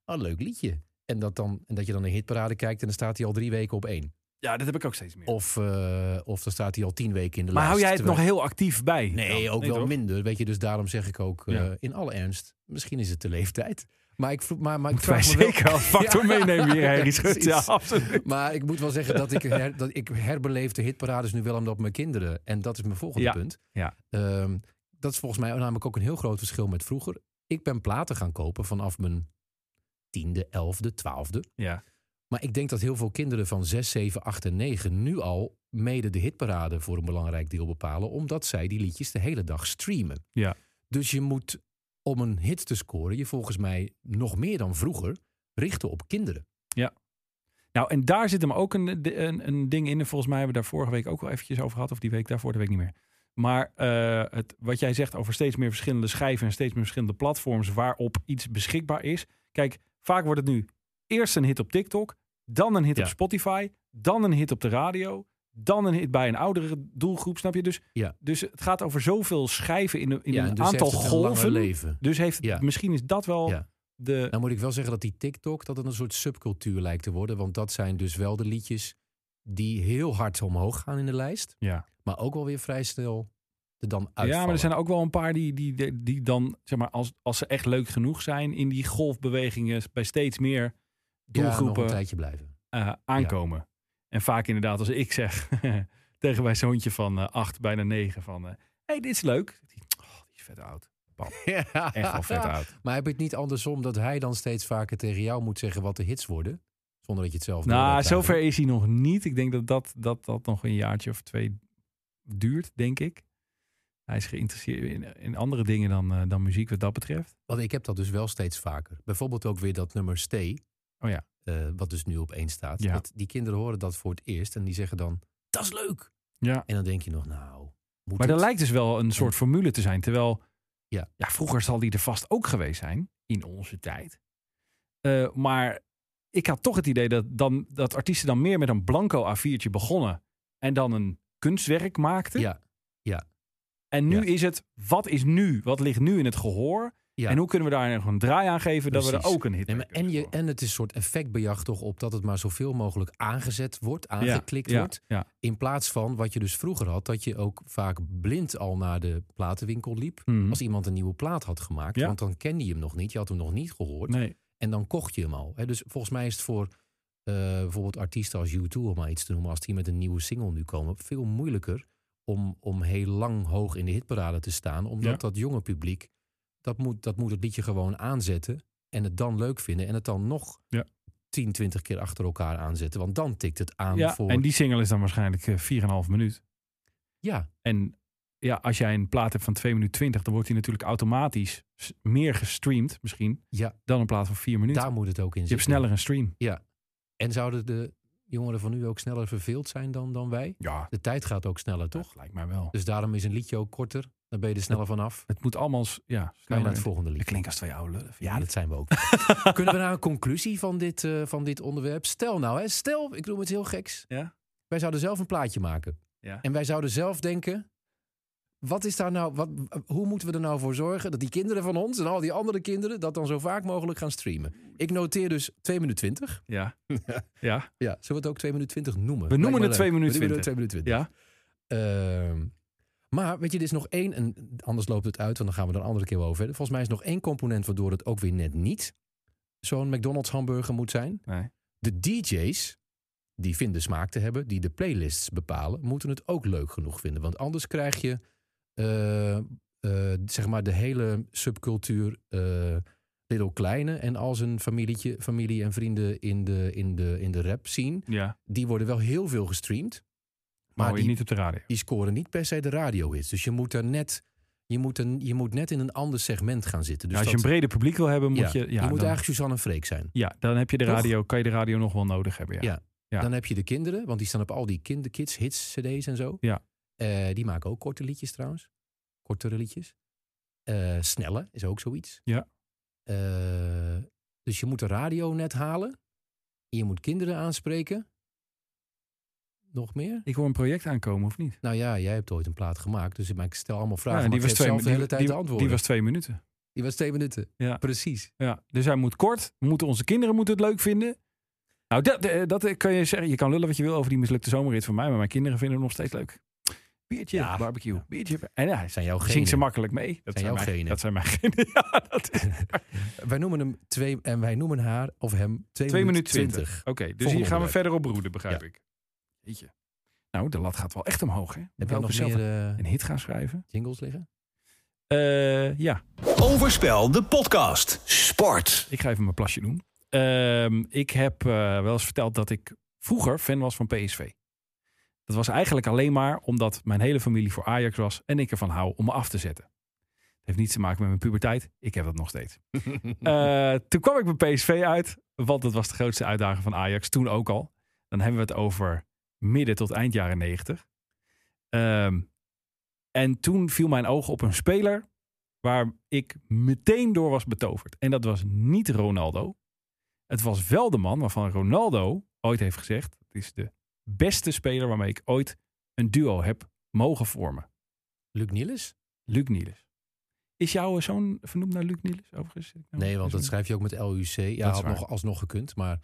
Speaker 4: ah, leuk liedje. En dat, dan, en dat je dan een hitparade kijkt en dan staat hij al drie weken op één.
Speaker 3: ja, dat heb ik ook steeds meer.
Speaker 4: Of, eh, of dan staat hij al tien weken in de
Speaker 3: maar
Speaker 4: lijst.
Speaker 3: hou jij het
Speaker 4: terwijl-
Speaker 3: nog heel actief bij?
Speaker 4: Nee,
Speaker 3: dan?
Speaker 4: ook wel
Speaker 3: toch?
Speaker 4: minder. Weet je, dus daarom zeg ik ook eh,
Speaker 3: Ja.
Speaker 4: in alle ernst, misschien is het de leeftijd. Maar ik, vroeg- maar, maar ik
Speaker 3: Moeten wij
Speaker 4: vraag me wel-
Speaker 3: zeker al factor
Speaker 4: Ja.
Speaker 3: meenemen hier, Harry
Speaker 4: Ja,
Speaker 3: Schut. Ja,
Speaker 4: precies.
Speaker 3: absoluut.
Speaker 4: Maar ik moet wel zeggen dat ik, her, dat ik herbeleef de hitparades nu wel omdat mijn kinderen. En dat is mijn volgende
Speaker 3: Ja,
Speaker 4: punt.
Speaker 3: ja.
Speaker 4: Ehm, dat is volgens mij namelijk ook een heel groot verschil met vroeger. Ik ben platen gaan kopen vanaf mijn tiende, elfde, twaalfde.
Speaker 3: Ja.
Speaker 4: Maar ik denk dat heel veel kinderen van 6, 7, 8 en 9 nu al mede de hitparade voor een belangrijk deel bepalen. Omdat zij die liedjes de hele dag streamen.
Speaker 3: Ja.
Speaker 4: Dus je moet om een hit te scoren je volgens mij nog meer dan vroeger richten op kinderen.
Speaker 3: Nou, en daar zit hem ook een, de- een, een ding in. En volgens mij hebben we daar vorige week ook wel eventjes over gehad. Of die week daarvoor, de week niet meer. Maar eh, het, wat jij zegt over steeds meer verschillende schijven en steeds meer verschillende platforms waarop iets beschikbaar is. Kijk, vaak wordt het nu eerst een hit op TikTok, dan een hit
Speaker 4: Ja.
Speaker 3: op Spotify, dan een hit op de radio, dan een hit bij een oudere doelgroep, snap je? Dus,
Speaker 4: Ja.
Speaker 3: dus het gaat over zoveel schijven in, een- in
Speaker 4: Ja,
Speaker 3: een
Speaker 4: dus
Speaker 3: aantal
Speaker 4: heeft het een langer
Speaker 3: golven.
Speaker 4: leven.
Speaker 3: Dus heeft, het-
Speaker 4: Ja.
Speaker 3: misschien is dat wel
Speaker 4: Ja.
Speaker 3: de...
Speaker 4: Nou moet ik wel zeggen dat die TikTok dat het een soort subcultuur lijkt te worden, want dat zijn dus wel de liedjes die heel hard omhoog gaan in de lijst,
Speaker 3: Ja.
Speaker 4: maar ook wel weer vrij snel er dan uitvallen.
Speaker 3: Ja, maar er zijn ook wel een paar die, die, die dan, zeg maar, als, als ze echt leuk genoeg zijn, in die golfbewegingen bij steeds meer
Speaker 4: Ja, nog
Speaker 3: doelgroepen
Speaker 4: een tijdje blijven.
Speaker 3: eh, aankomen. En vaak inderdaad, als ik zeg tegen mijn zoontje van eh, acht, bijna negen, van hé, hey, dit is leuk. Oh, die is vet oud. Echt wel vet oud.
Speaker 4: Maar heb je het niet andersom dat hij dan steeds vaker tegen jou moet zeggen wat de hits worden? Zonder dat je het zelf
Speaker 3: Nou,
Speaker 4: doorhebt
Speaker 3: zover
Speaker 4: eigenlijk.
Speaker 3: is hij nog niet. Ik denk dat dat, dat dat nog een jaartje of twee duurt, denk ik. Hij is geïnteresseerd in, in andere dingen dan, eh, dan muziek wat dat betreft.
Speaker 4: Want ik heb dat dus wel steeds vaker. Bijvoorbeeld ook weer dat nummer Stay.
Speaker 3: Oh ja.
Speaker 4: eh, wat dus nu op één staat.
Speaker 3: Ja.
Speaker 4: Dat die kinderen horen dat voor het eerst en die zeggen dan, dat is leuk.
Speaker 3: Ja.
Speaker 4: En dan denk je nog, nou, moet
Speaker 3: Maar
Speaker 4: het?
Speaker 3: er lijkt dus wel een soort formule te zijn. Terwijl, ja.
Speaker 4: Ja.
Speaker 3: vroeger zal die er vast ook geweest zijn in onze tijd. Eh, maar ik had toch het idee dat, dan, dat artiesten dan meer met een blanco A4'tje begonnen. En dan een kunstwerk maakten.
Speaker 4: Ja,
Speaker 3: en nu
Speaker 4: ja.
Speaker 3: is het, wat is nu? Wat ligt nu in het gehoor?
Speaker 4: ja.
Speaker 3: En hoe kunnen we daar nog een draai aan geven dat we er
Speaker 4: Precies.
Speaker 3: ook een hit
Speaker 4: Nee, maar
Speaker 3: mee kunnen
Speaker 4: en, je,
Speaker 3: scoren?
Speaker 4: en het is een soort effectbejag toch op dat het maar zoveel mogelijk aangezet wordt,
Speaker 3: Ja,
Speaker 4: aangeklikt
Speaker 3: ja,
Speaker 4: wordt.
Speaker 3: Ja,
Speaker 4: In plaats van wat je dus vroeger had, dat je ook vaak blind al naar de platenwinkel liep.
Speaker 3: Mhm.
Speaker 4: Als iemand een nieuwe plaat had gemaakt,
Speaker 3: Ja.
Speaker 4: want dan kende je hem nog niet. Je had hem nog niet gehoord
Speaker 3: Nee.
Speaker 4: en dan kocht je hem al. Hè? Dus volgens mij is het voor eh, bijvoorbeeld artiesten als U2, om maar iets te noemen, als die met een nieuwe single nu komen, veel moeilijker om, om heel lang hoog in de hitparade te staan. Omdat
Speaker 3: Ja.
Speaker 4: dat jonge publiek, dat moet, dat moet het liedje gewoon aanzetten en het dan leuk vinden en het dan nog
Speaker 3: Ja.
Speaker 4: 10, 20 keer achter elkaar aanzetten. Want dan tikt het aan
Speaker 3: ja,
Speaker 4: voor...
Speaker 3: en die single is dan waarschijnlijk eh, 4,5 minuut.
Speaker 4: Ja,
Speaker 3: En ja, als jij een plaat hebt van 2 minuten 20, dan wordt die natuurlijk automatisch s- meer gestreamd misschien
Speaker 4: Ja.
Speaker 3: dan een plaat van 4 minuten.
Speaker 4: Daar moet het ook in
Speaker 3: je
Speaker 4: zitten.
Speaker 3: hebt sneller een stream.
Speaker 4: En zouden de jongeren van nu ook sneller verveeld zijn dan, dan wij?
Speaker 3: Ja,
Speaker 4: De tijd gaat ook sneller, toch?
Speaker 3: toch? Lijkt mij wel.
Speaker 4: Dus daarom is een liedje ook korter. Dan ben je er sneller vanaf.
Speaker 3: Het moet allemaal s- ja,
Speaker 4: Kan je
Speaker 3: sneller.
Speaker 4: naar het volgende
Speaker 3: Dat
Speaker 4: lied.
Speaker 3: klinkt als twee oude lullen. vind
Speaker 4: Ja,
Speaker 3: je
Speaker 4: dat zijn we ook. Kunnen we naar een conclusie van dit, eh, van dit onderwerp? Stel nou, hè, stel, ik doe iets heel geks.
Speaker 3: Ja.
Speaker 4: Wij zouden zelf een plaatje maken.
Speaker 3: Ja.
Speaker 4: En wij zouden zelf denken... Wat is daar nou, wat, hoe moeten we er nou voor zorgen dat die kinderen van ons en al die andere kinderen dat dan zo vaak mogelijk gaan streamen? Ik noteer dus 2 minuten 20.
Speaker 3: niet? Ja. ja.
Speaker 4: Ja, zullen we het ook 2 minuten 20 noemen?
Speaker 3: We noemen
Speaker 4: Lijkt me
Speaker 3: het 2
Speaker 4: leuk.
Speaker 3: minuten
Speaker 4: We noemen het 2 minuten 20.
Speaker 3: Ja.
Speaker 4: Ehm, maar weet je, er is nog één, en anders loopt het uit, want dan gaan we er een andere keer wel over verder. Volgens mij is er nog één component waardoor het ook weer net niet zo'n McDonald's hamburger moet zijn.
Speaker 3: Nee.
Speaker 4: De DJ's, die vinden smaak te hebben, die de playlists bepalen, moeten het ook leuk genoeg vinden. Want anders krijg je, eh, eh, zeg maar, de hele subcultuur eh Little Kleine en al zijn familietje, familie en vrienden in de, in de, in de rap zien
Speaker 3: ja.
Speaker 4: die worden wel heel veel gestreamd.
Speaker 3: Maar
Speaker 4: Maar
Speaker 3: hoor je
Speaker 4: die, Dus
Speaker 3: niet op de radio.
Speaker 4: die scoren niet per se de radiohits. Dus je moet, er net, je, moet er, je moet net in een ander segment gaan zitten. Dus
Speaker 3: Ja, als je een
Speaker 4: dat-
Speaker 3: breder publiek wil hebben, moet
Speaker 4: ja,
Speaker 3: je... Ja,
Speaker 4: moet
Speaker 3: dan,
Speaker 4: eigenlijk Suzanne en Freek zijn.
Speaker 3: ja, dan heb je de
Speaker 4: Toch?
Speaker 3: radio, kan je de radio nog wel nodig hebben. Ja.
Speaker 4: Ja.
Speaker 3: Ja.
Speaker 4: Dan heb je de kinderen, want die staan op al die kinderkids, hits, cd's en zo.
Speaker 3: Ja.
Speaker 4: Eh, die maken ook korte liedjes trouwens. Kortere liedjes. Eh, snelle is ook zoiets.
Speaker 3: Ja.
Speaker 4: Eh, dus je moet de radio net halen. Je moet kinderen aanspreken. Nog meer?
Speaker 3: Ik hoor een project aankomen, of niet?
Speaker 4: Nou ja, jij hebt ooit een plaat gemaakt, dus ik- maar ik stel allemaal vragen.
Speaker 3: Ja,
Speaker 4: maar
Speaker 3: die, was
Speaker 4: ik geef
Speaker 3: twee,
Speaker 4: zelf de hele
Speaker 3: die,
Speaker 4: tijd de
Speaker 3: die,
Speaker 4: antwoorden.
Speaker 3: die was twee minuten.
Speaker 4: die was twee minuten.
Speaker 3: Ja.
Speaker 4: Precies.
Speaker 3: Ja, dus hij moet kort. We moeten onze kinderen moeten het leuk vinden. Nou, dat, eh, dat eh, kan je zeggen. Je kan lullen wat je wil over die mislukte zomerrit van mij. Maar mijn kinderen vinden hem nog steeds leuk. Biertje,
Speaker 4: Ja.
Speaker 3: barbecue, biertje. En ja, hij
Speaker 4: Zijn jouw
Speaker 3: zingt ze
Speaker 4: genen.
Speaker 3: makkelijk mee. Dat
Speaker 4: Zijn jouw
Speaker 3: mijn,
Speaker 4: genen.
Speaker 3: Dat zijn mijn genen. Ja, dat is...
Speaker 4: Wij noemen hem twee en wij noemen haar of hem twee,
Speaker 3: 2 minuten
Speaker 4: minuten
Speaker 3: 20.
Speaker 4: twintig.
Speaker 3: Oké, dus hier gaan we
Speaker 4: onderwerp.
Speaker 3: verder op broeden, begrijp ik. Weet je. Nou, de lat gaat wel echt omhoog, hè?
Speaker 4: Heb
Speaker 3: Welke
Speaker 4: jij nog
Speaker 3: zelf
Speaker 4: meer eh,
Speaker 3: een hit gaan schrijven?
Speaker 4: jingles liggen?
Speaker 3: Eh, ja,
Speaker 1: Overspel, de podcast.
Speaker 8: Sport.
Speaker 3: ik ga even mijn plasje doen. Ehm, ik heb eh, wel eens verteld dat ik vroeger fan was van PSV. Dat was eigenlijk alleen maar omdat mijn hele familie voor Ajax was en ik ervan hou om me af te zetten. Heeft niets te maken met mijn puberteit. Ik heb dat nog steeds. Eh, toen kwam ik bij PSV uit. Want dat was de grootste uitdaging van Ajax. Toen ook al. Dan hebben we het over midden tot eind jaren 90. Ehm, en toen viel mijn oog op een speler waar ik meteen door was betoverd. En dat was niet Ronaldo. Het was wel de man waarvan Ronaldo ooit heeft gezegd: het is de beste speler waarmee ik ooit een duo heb mogen vormen.
Speaker 4: Luc Nielis?
Speaker 3: Luc Niels. Is jouw zoon vernoemd naar Luc Niels overigens? nou
Speaker 4: Nee, want dat schrijf je ook met LUC. Ja,
Speaker 3: is
Speaker 4: had
Speaker 3: waar.
Speaker 4: nog alsnog gekund, maar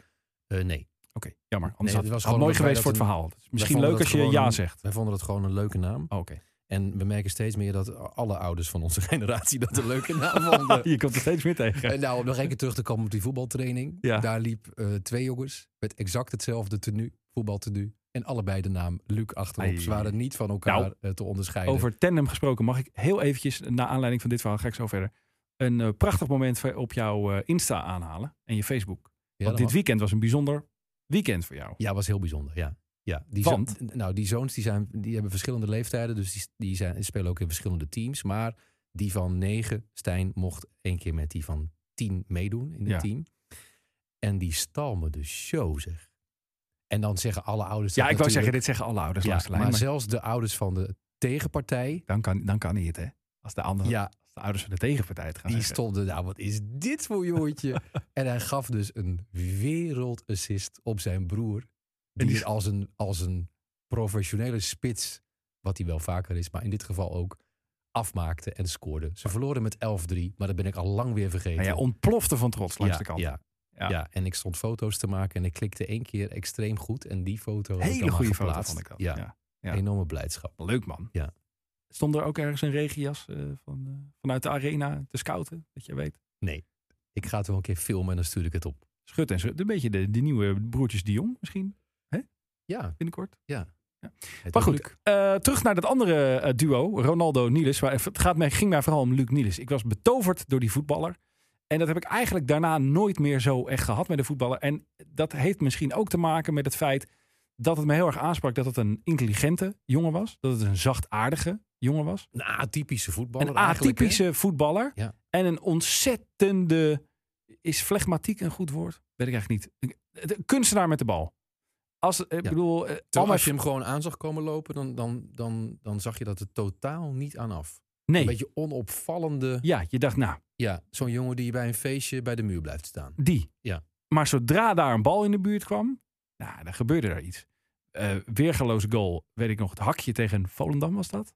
Speaker 4: eh, nee.
Speaker 3: Oké, jammer. Anders
Speaker 4: Nee,
Speaker 3: had
Speaker 4: dit was
Speaker 3: het
Speaker 4: gewoon
Speaker 3: mooi
Speaker 4: omdat
Speaker 3: geweest
Speaker 4: wij
Speaker 3: voor het
Speaker 4: dat
Speaker 3: verhaal. Het is Misschien
Speaker 4: vonden
Speaker 3: leuk
Speaker 4: dat
Speaker 3: als je
Speaker 4: gewoon
Speaker 3: ja
Speaker 4: een-
Speaker 3: zegt. Oh,
Speaker 4: Wij vonden dat gewoon een leuke naam.
Speaker 3: Oké.
Speaker 4: En we merken steeds meer dat alle ouders van onze generatie dat een leuke naam vonden.
Speaker 3: Je komt er steeds meer tegen.
Speaker 4: En nou, om nog één keer terug te komen op die voetbaltraining.
Speaker 3: Ja.
Speaker 4: Daar liep eh, twee jongens met exact hetzelfde tenue, voetbaltenue. En allebei de naam Luc achterop.
Speaker 3: Ai.
Speaker 4: Ze waren niet van elkaar
Speaker 3: Nou,
Speaker 4: eh, te onderscheiden.
Speaker 3: Over tandem gesproken, mag ik heel eventjes, na aanleiding van dit verhaal, ga ik zo verder, een eh, prachtig moment van- op jouw eh, Insta aanhalen en je Facebook.
Speaker 4: ja,
Speaker 3: Want
Speaker 4: dat
Speaker 3: dit
Speaker 4: mag.
Speaker 3: weekend was een bijzonder weekend voor jou.
Speaker 4: ja, was heel bijzonder, ja. ja die
Speaker 3: Want?
Speaker 4: zoon- nou, die zoons die zijn, die hebben verschillende leeftijden. Dus die, die zijn, spelen ook in verschillende teams. Maar die van negen, Stijn, mocht één keer met die van tien meedoen in het
Speaker 3: Ja.
Speaker 4: team. En die stal me de show, zeg. En dan zeggen alle ouders...
Speaker 3: Ja,
Speaker 4: dat
Speaker 3: ik wou zeggen,
Speaker 4: natuurlijk.
Speaker 3: dit zeggen alle ouders
Speaker 4: Ja,
Speaker 3: langs de lijn.
Speaker 4: maar
Speaker 3: maar
Speaker 4: zelfs de ouders van de tegenpartij
Speaker 3: dan, kan, dan kan hij het, hè? Als de, andere,
Speaker 4: Ja,
Speaker 3: als de ouders van de tegenpartij het gaan
Speaker 4: die
Speaker 3: zeggen.
Speaker 4: stonden, nou wat is dit voor jongetje? en hij gaf dus een wereldassist op zijn broer. Die,
Speaker 3: die-
Speaker 4: het als een, als een professionele spits, wat hij wel vaker is, maar in dit geval ook, afmaakte en scoorde. Ze verloren met 11-3, maar dat ben ik al lang weer vergeten.
Speaker 3: Nou ja, ontplofte van trots langs
Speaker 4: ja,
Speaker 3: de kant.
Speaker 4: Ja.
Speaker 3: Ja.
Speaker 4: Ja. en ik stond foto's te maken en ik klikte één keer extreem goed. En die foto heb ik
Speaker 3: Hele
Speaker 4: dan maar
Speaker 3: goede foto
Speaker 4: geplaatst.
Speaker 3: vond ik dat.
Speaker 4: Ja,
Speaker 3: Ja. ja.
Speaker 4: enorme blijdschap.
Speaker 3: Leuk man.
Speaker 4: Ja.
Speaker 3: Stond er ook ergens een regenjas eh, van, eh, vanuit de arena te scouten, dat je weet?
Speaker 4: Ik ga het wel een keer filmen en dan stuur ik het op.
Speaker 3: Schut en schut. Een beetje de, de nieuwe broertjes Dion misschien
Speaker 4: Ja,
Speaker 3: binnenkort.
Speaker 4: het
Speaker 3: Maar
Speaker 4: wordt
Speaker 3: goed, eh, terug naar dat andere eh, duo, Ronaldo Niels. Waar, het gaat mij, ging mij vooral om Luc Niels. Ik was betoverd door die voetballer. En dat heb ik eigenlijk daarna nooit meer zo echt gehad met de voetballer. En dat heeft misschien ook te maken met het feit dat het me heel erg aansprak dat het een intelligente jongen was. Dat het een zachtaardige jongen was.
Speaker 4: Een atypische voetballer.
Speaker 3: Een
Speaker 4: eigenlijk, hè?
Speaker 3: atypische voetballer.
Speaker 4: Ja.
Speaker 3: En een ontzettende. Is flegmatiek een goed woord? Weet ik eigenlijk niet. Een- een kunstenaar met de bal. Als, ik bedoel, eh, al
Speaker 4: Terwijl
Speaker 3: mijn
Speaker 4: als je hem gewoon aan zag komen lopen, dan, dan, dan, dan zag je dat het totaal niet aan af.
Speaker 3: nee.
Speaker 4: Een beetje onopvallende.
Speaker 3: Ja, je dacht, nou,
Speaker 4: Ja, zo'n jongen die bij een feestje bij de muur blijft staan.
Speaker 3: die.
Speaker 4: Ja.
Speaker 3: Maar zodra daar een bal in de buurt kwam, nou, dan gebeurde er iets. Eh weergeloos goal, weet ik nog, het hakje tegen Volendam was dat?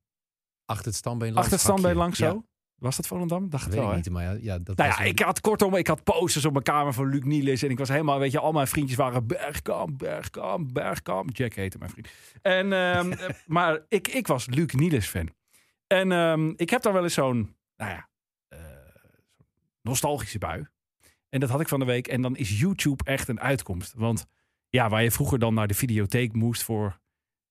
Speaker 4: Achter het standbeen langs.
Speaker 3: Achter het standbeen
Speaker 4: hakje.
Speaker 3: langs zo?
Speaker 4: Ja,
Speaker 3: Was dat Volendam? Dacht het
Speaker 4: weet
Speaker 3: wel,
Speaker 4: ik
Speaker 3: hè?
Speaker 4: niet, maar ja, ja dat
Speaker 3: Nou
Speaker 4: was
Speaker 3: ja,
Speaker 4: een-
Speaker 3: ik had kortom, ik had posters op mijn kamer van Luc Nielis. En ik was helemaal, weet je, al mijn vriendjes waren Bergkamp, Bergkamp, Bergkamp. Jack heette mijn vriend. En, ehm, eh, maar ik, ik was Luc Nielis fan. En ehm, ik heb daar wel eens zo'n, nou ja, eh, zo'n nostalgische bui. En dat had ik van de week. En dan is YouTube echt een uitkomst. Want ja, waar je vroeger dan naar de videotheek moest voor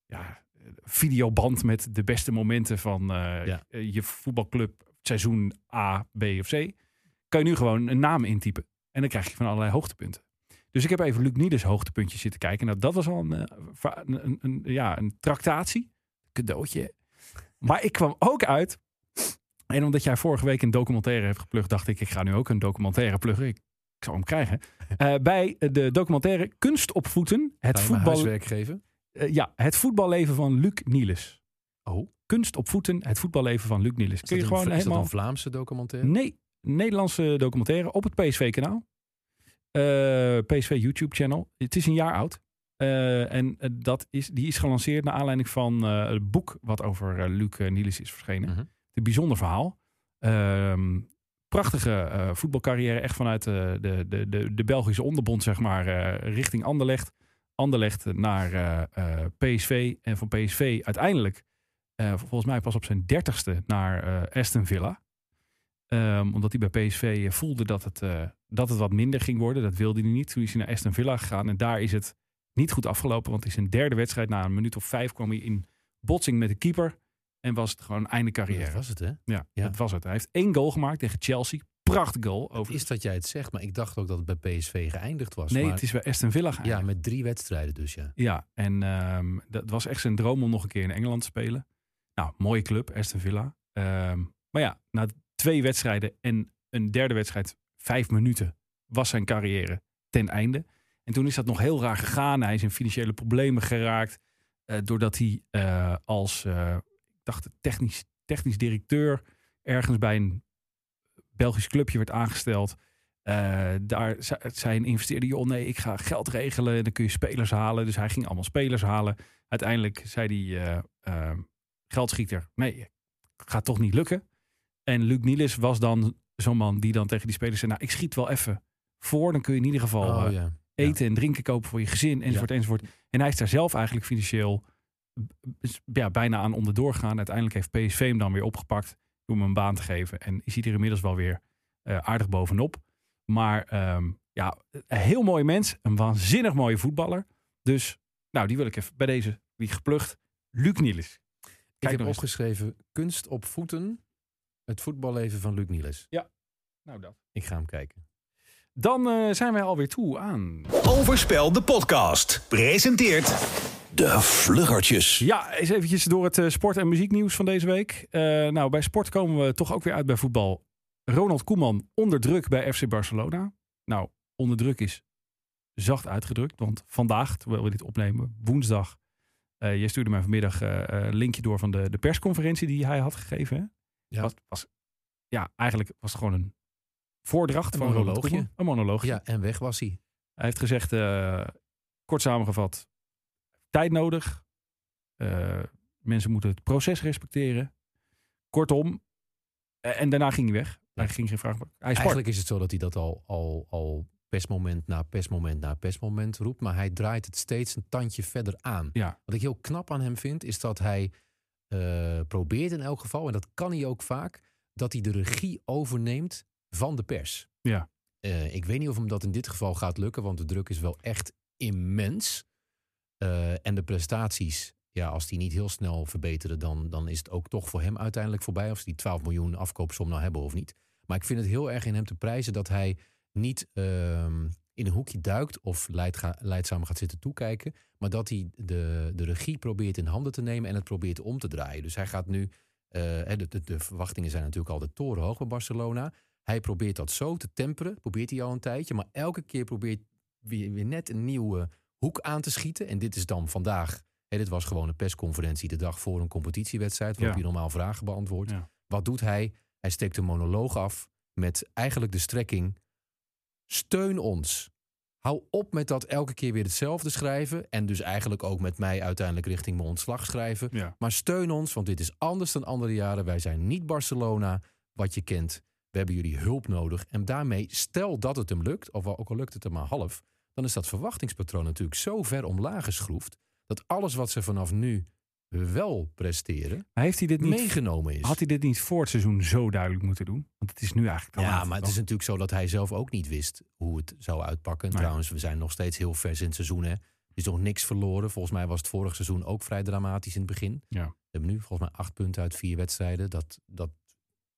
Speaker 3: ja, eh, videoband met de beste momenten van eh,
Speaker 4: Ja.
Speaker 3: eh, je voetbalclub seizoen A, B of C kan je nu gewoon een naam intypen. En dan krijg je van allerlei hoogtepunten. Dus ik heb even Luc Niedes hoogtepuntjes zitten kijken. Nou, dat was al een, eh, va- een, een, een- ja, een tractatie. Cadeautje. Maar ik kwam ook uit. En omdat jij vorige week een documentaire hebt geplukt, dacht ik, ik ga nu ook een documentaire pluggen. Ik, ik zal hem krijgen. Eh, bij de documentaire Kunst op Voeten. Het,
Speaker 4: Ga je mijn
Speaker 3: voetbal,
Speaker 4: huiswerk geven?
Speaker 3: eh, ja, het voetballeven van Luc Nieles.
Speaker 4: Oh.
Speaker 3: Kunst op Voeten. Het voetballeven van Luc Nieles.
Speaker 4: Is
Speaker 3: Kun je
Speaker 4: dat een-
Speaker 3: gewoon
Speaker 4: is dat
Speaker 3: helemaal...
Speaker 4: een Vlaamse documentaire?
Speaker 3: Nee, Nederlandse documentaire op het PSV-kanaal. PSV YouTube-channel. Het is een jaar oud. Eh, en eh, dat is, die is gelanceerd naar aanleiding van eh, het boek wat over eh, Luc eh, Nielis is verschenen.
Speaker 4: Mhm.
Speaker 3: Een bijzonder verhaal. Ehm, prachtige eh, voetbalcarrière, echt vanuit eh, de, de, de, de Belgische onderbond, zeg maar, eh, richting Anderlecht. Anderlecht naar eh, eh, PSV en van PSV uiteindelijk, eh, volgens mij pas op zijn dertigste, naar eh, Aston Villa. Ehm, omdat hij bij PSV voelde dat het, eh, dat het wat minder ging worden. Dat wilde hij niet. Toen is hij naar Aston Villa gegaan en daar is het niet goed afgelopen. Want in zijn derde wedstrijd, na een minuut of vijf, kwam hij in botsing met de keeper. En was het gewoon einde
Speaker 4: Dat
Speaker 3: carrière.
Speaker 4: was het, hè?
Speaker 3: Ja,
Speaker 4: Ja.
Speaker 3: dat was het. Hij heeft één goal gemaakt tegen Chelsea. Prachtig goal. Over...
Speaker 4: Is dat jij het zegt, maar ik dacht ook dat het bij PSV geëindigd was.
Speaker 3: nee,
Speaker 4: maar,
Speaker 3: het is ah, bij Aston Villa geëindigd.
Speaker 4: Ja, met drie wedstrijden dus, ja.
Speaker 3: Ja, en ehm, dat was echt zijn droom om nog een keer in Engeland te spelen. Nou, mooie club, Aston Villa. Ehm, maar ja, na twee wedstrijden en een derde wedstrijd, vijf minuten, was zijn carrière ten einde. En toen is dat nog heel raar gegaan. Hij is in financiële problemen geraakt. eh, doordat hij eh, als, eh, ik dacht, technisch, technisch directeur ergens bij een Belgisch clubje werd aangesteld. Eh, daar ze- zei een investeerder, joh nee, ik ga geld regelen. en Dan kun je spelers halen. Dus hij ging allemaal spelers halen. Uiteindelijk zei hij, eh, eh, geldschieter, nee, gaat toch niet lukken. En Luc Nielis was dan zo'n man die dan tegen die spelers zei... nou, ik schiet wel even voor, dan kun je in ieder geval eh,
Speaker 4: Oh, ja.
Speaker 3: eten en drinken kopen voor je gezin, enzovoort, enzovoort. En hij is daar zelf eigenlijk financieel b- ja, bijna aan onderdoor gegaan. Uiteindelijk heeft PSV hem dan weer opgepakt door hem een baan te geven. En is hij er inmiddels wel weer eh, aardig bovenop. Maar ehm, ja, een heel mooi mens, een waanzinnig mooie voetballer. Dus, nou, die wil ik even bij deze, wie geplucht, Luc Nielis.
Speaker 4: Ik
Speaker 3: Kijk
Speaker 4: heb
Speaker 3: nog eens.
Speaker 4: opgeschreven kunst op voeten. Het voetballeven van Luc Niels.
Speaker 3: Nou, dat.
Speaker 4: Ik ga hem kijken.
Speaker 3: Dan eh, zijn wij alweer toe aan
Speaker 1: Overspel de podcast. Presenteert
Speaker 8: De Vluggertjes.
Speaker 3: Ja, eens eventjes door het eh, sport- en muzieknieuws van deze week. Eh, nou, bij sport komen we toch ook weer uit bij voetbal. Ronald Koeman onder druk bij FC Barcelona. Nou, onder druk is zacht uitgedrukt. Want vandaag, terwijl we dit opnemen, woensdag... eh je stuurde mij vanmiddag eh, eh, een linkje door van de, de persconferentie die hij had gegeven. Hè?
Speaker 4: Ja.
Speaker 3: Was, was, ja, eigenlijk was het gewoon een voordracht
Speaker 4: Een
Speaker 3: van Ronald
Speaker 4: monoloogje.
Speaker 3: Koeman. Een monoloogje.
Speaker 4: Ja, en weg was hij.
Speaker 3: Hij heeft gezegd, eh, kort samengevat, tijd nodig. Eh, mensen moeten het proces respecteren. Kortom, eh, en daarna ging hij weg. Hij ging geen vraag meer. Hij is
Speaker 4: Eigenlijk is het zo dat hij dat al, al, al persmoment na persmoment na persmoment roept. Maar hij draait het steeds een tandje verder aan.
Speaker 3: Ja.
Speaker 4: Wat ik heel knap aan hem vind, is dat hij eh, probeert in elk geval, en dat kan hij ook vaak, dat hij de regie overneemt van de pers.
Speaker 3: Ja.
Speaker 4: Eh, ik weet niet of hem dat in dit geval gaat lukken, want de druk is wel echt immens. Eh, en de prestaties, ja, als die niet heel snel verbeteren, dan, dan is het ook toch voor hem uiteindelijk voorbij. Of ze die 12 miljoen afkoopsom nou hebben of niet. Maar ik vind het heel erg in hem te prijzen dat hij niet ehm, in een hoekje duikt of leidga- leidzaam gaat zitten toekijken. Maar dat hij de, de regie probeert in handen te nemen en het probeert om te draaien. Dus hij gaat nu. eh, hè, de, de, de verwachtingen zijn natuurlijk altijd torenhoog bij Barcelona. Hij probeert dat zo te temperen. Probeert hij al een tijdje. Maar elke keer probeert weer, weer net een nieuwe hoek aan te schieten. En dit is dan vandaag. Hè, dit was gewoon een persconferentie de dag voor een competitiewedstrijd. Waarop
Speaker 3: Ja.
Speaker 4: je normaal vragen beantwoordt.
Speaker 3: Ja.
Speaker 4: Wat doet hij? Hij steekt een monoloog af met eigenlijk de strekking. Steun ons. Hou op met dat elke keer weer hetzelfde schrijven. En dus eigenlijk ook met mij uiteindelijk richting mijn ontslag schrijven.
Speaker 3: Ja.
Speaker 4: Maar steun ons, want dit is anders dan andere jaren. Wij zijn niet Barcelona, wat je kent. We hebben jullie hulp nodig. En daarmee, stel dat het hem lukt, of ook al lukt het hem maar half... dan is dat verwachtingspatroon natuurlijk zo ver omlaag geschroefd... dat alles wat ze vanaf nu wel presteren,
Speaker 3: Maar heeft hij dit niet,
Speaker 4: meegenomen is.
Speaker 3: had hij dit niet voor het seizoen zo duidelijk moeten doen? Want het is nu eigenlijk te
Speaker 4: Ja,
Speaker 3: laat.
Speaker 4: maar het is natuurlijk zo dat hij zelf ook niet wist hoe het zou uitpakken. En
Speaker 3: Nee.
Speaker 4: Trouwens, we zijn nog steeds heel vers in het seizoen. Hè. Er is nog niks verloren. Volgens mij was het vorig seizoen ook vrij dramatisch in het begin.
Speaker 3: Ja.
Speaker 4: We hebben nu volgens mij acht punten uit vier wedstrijden. Dat, dat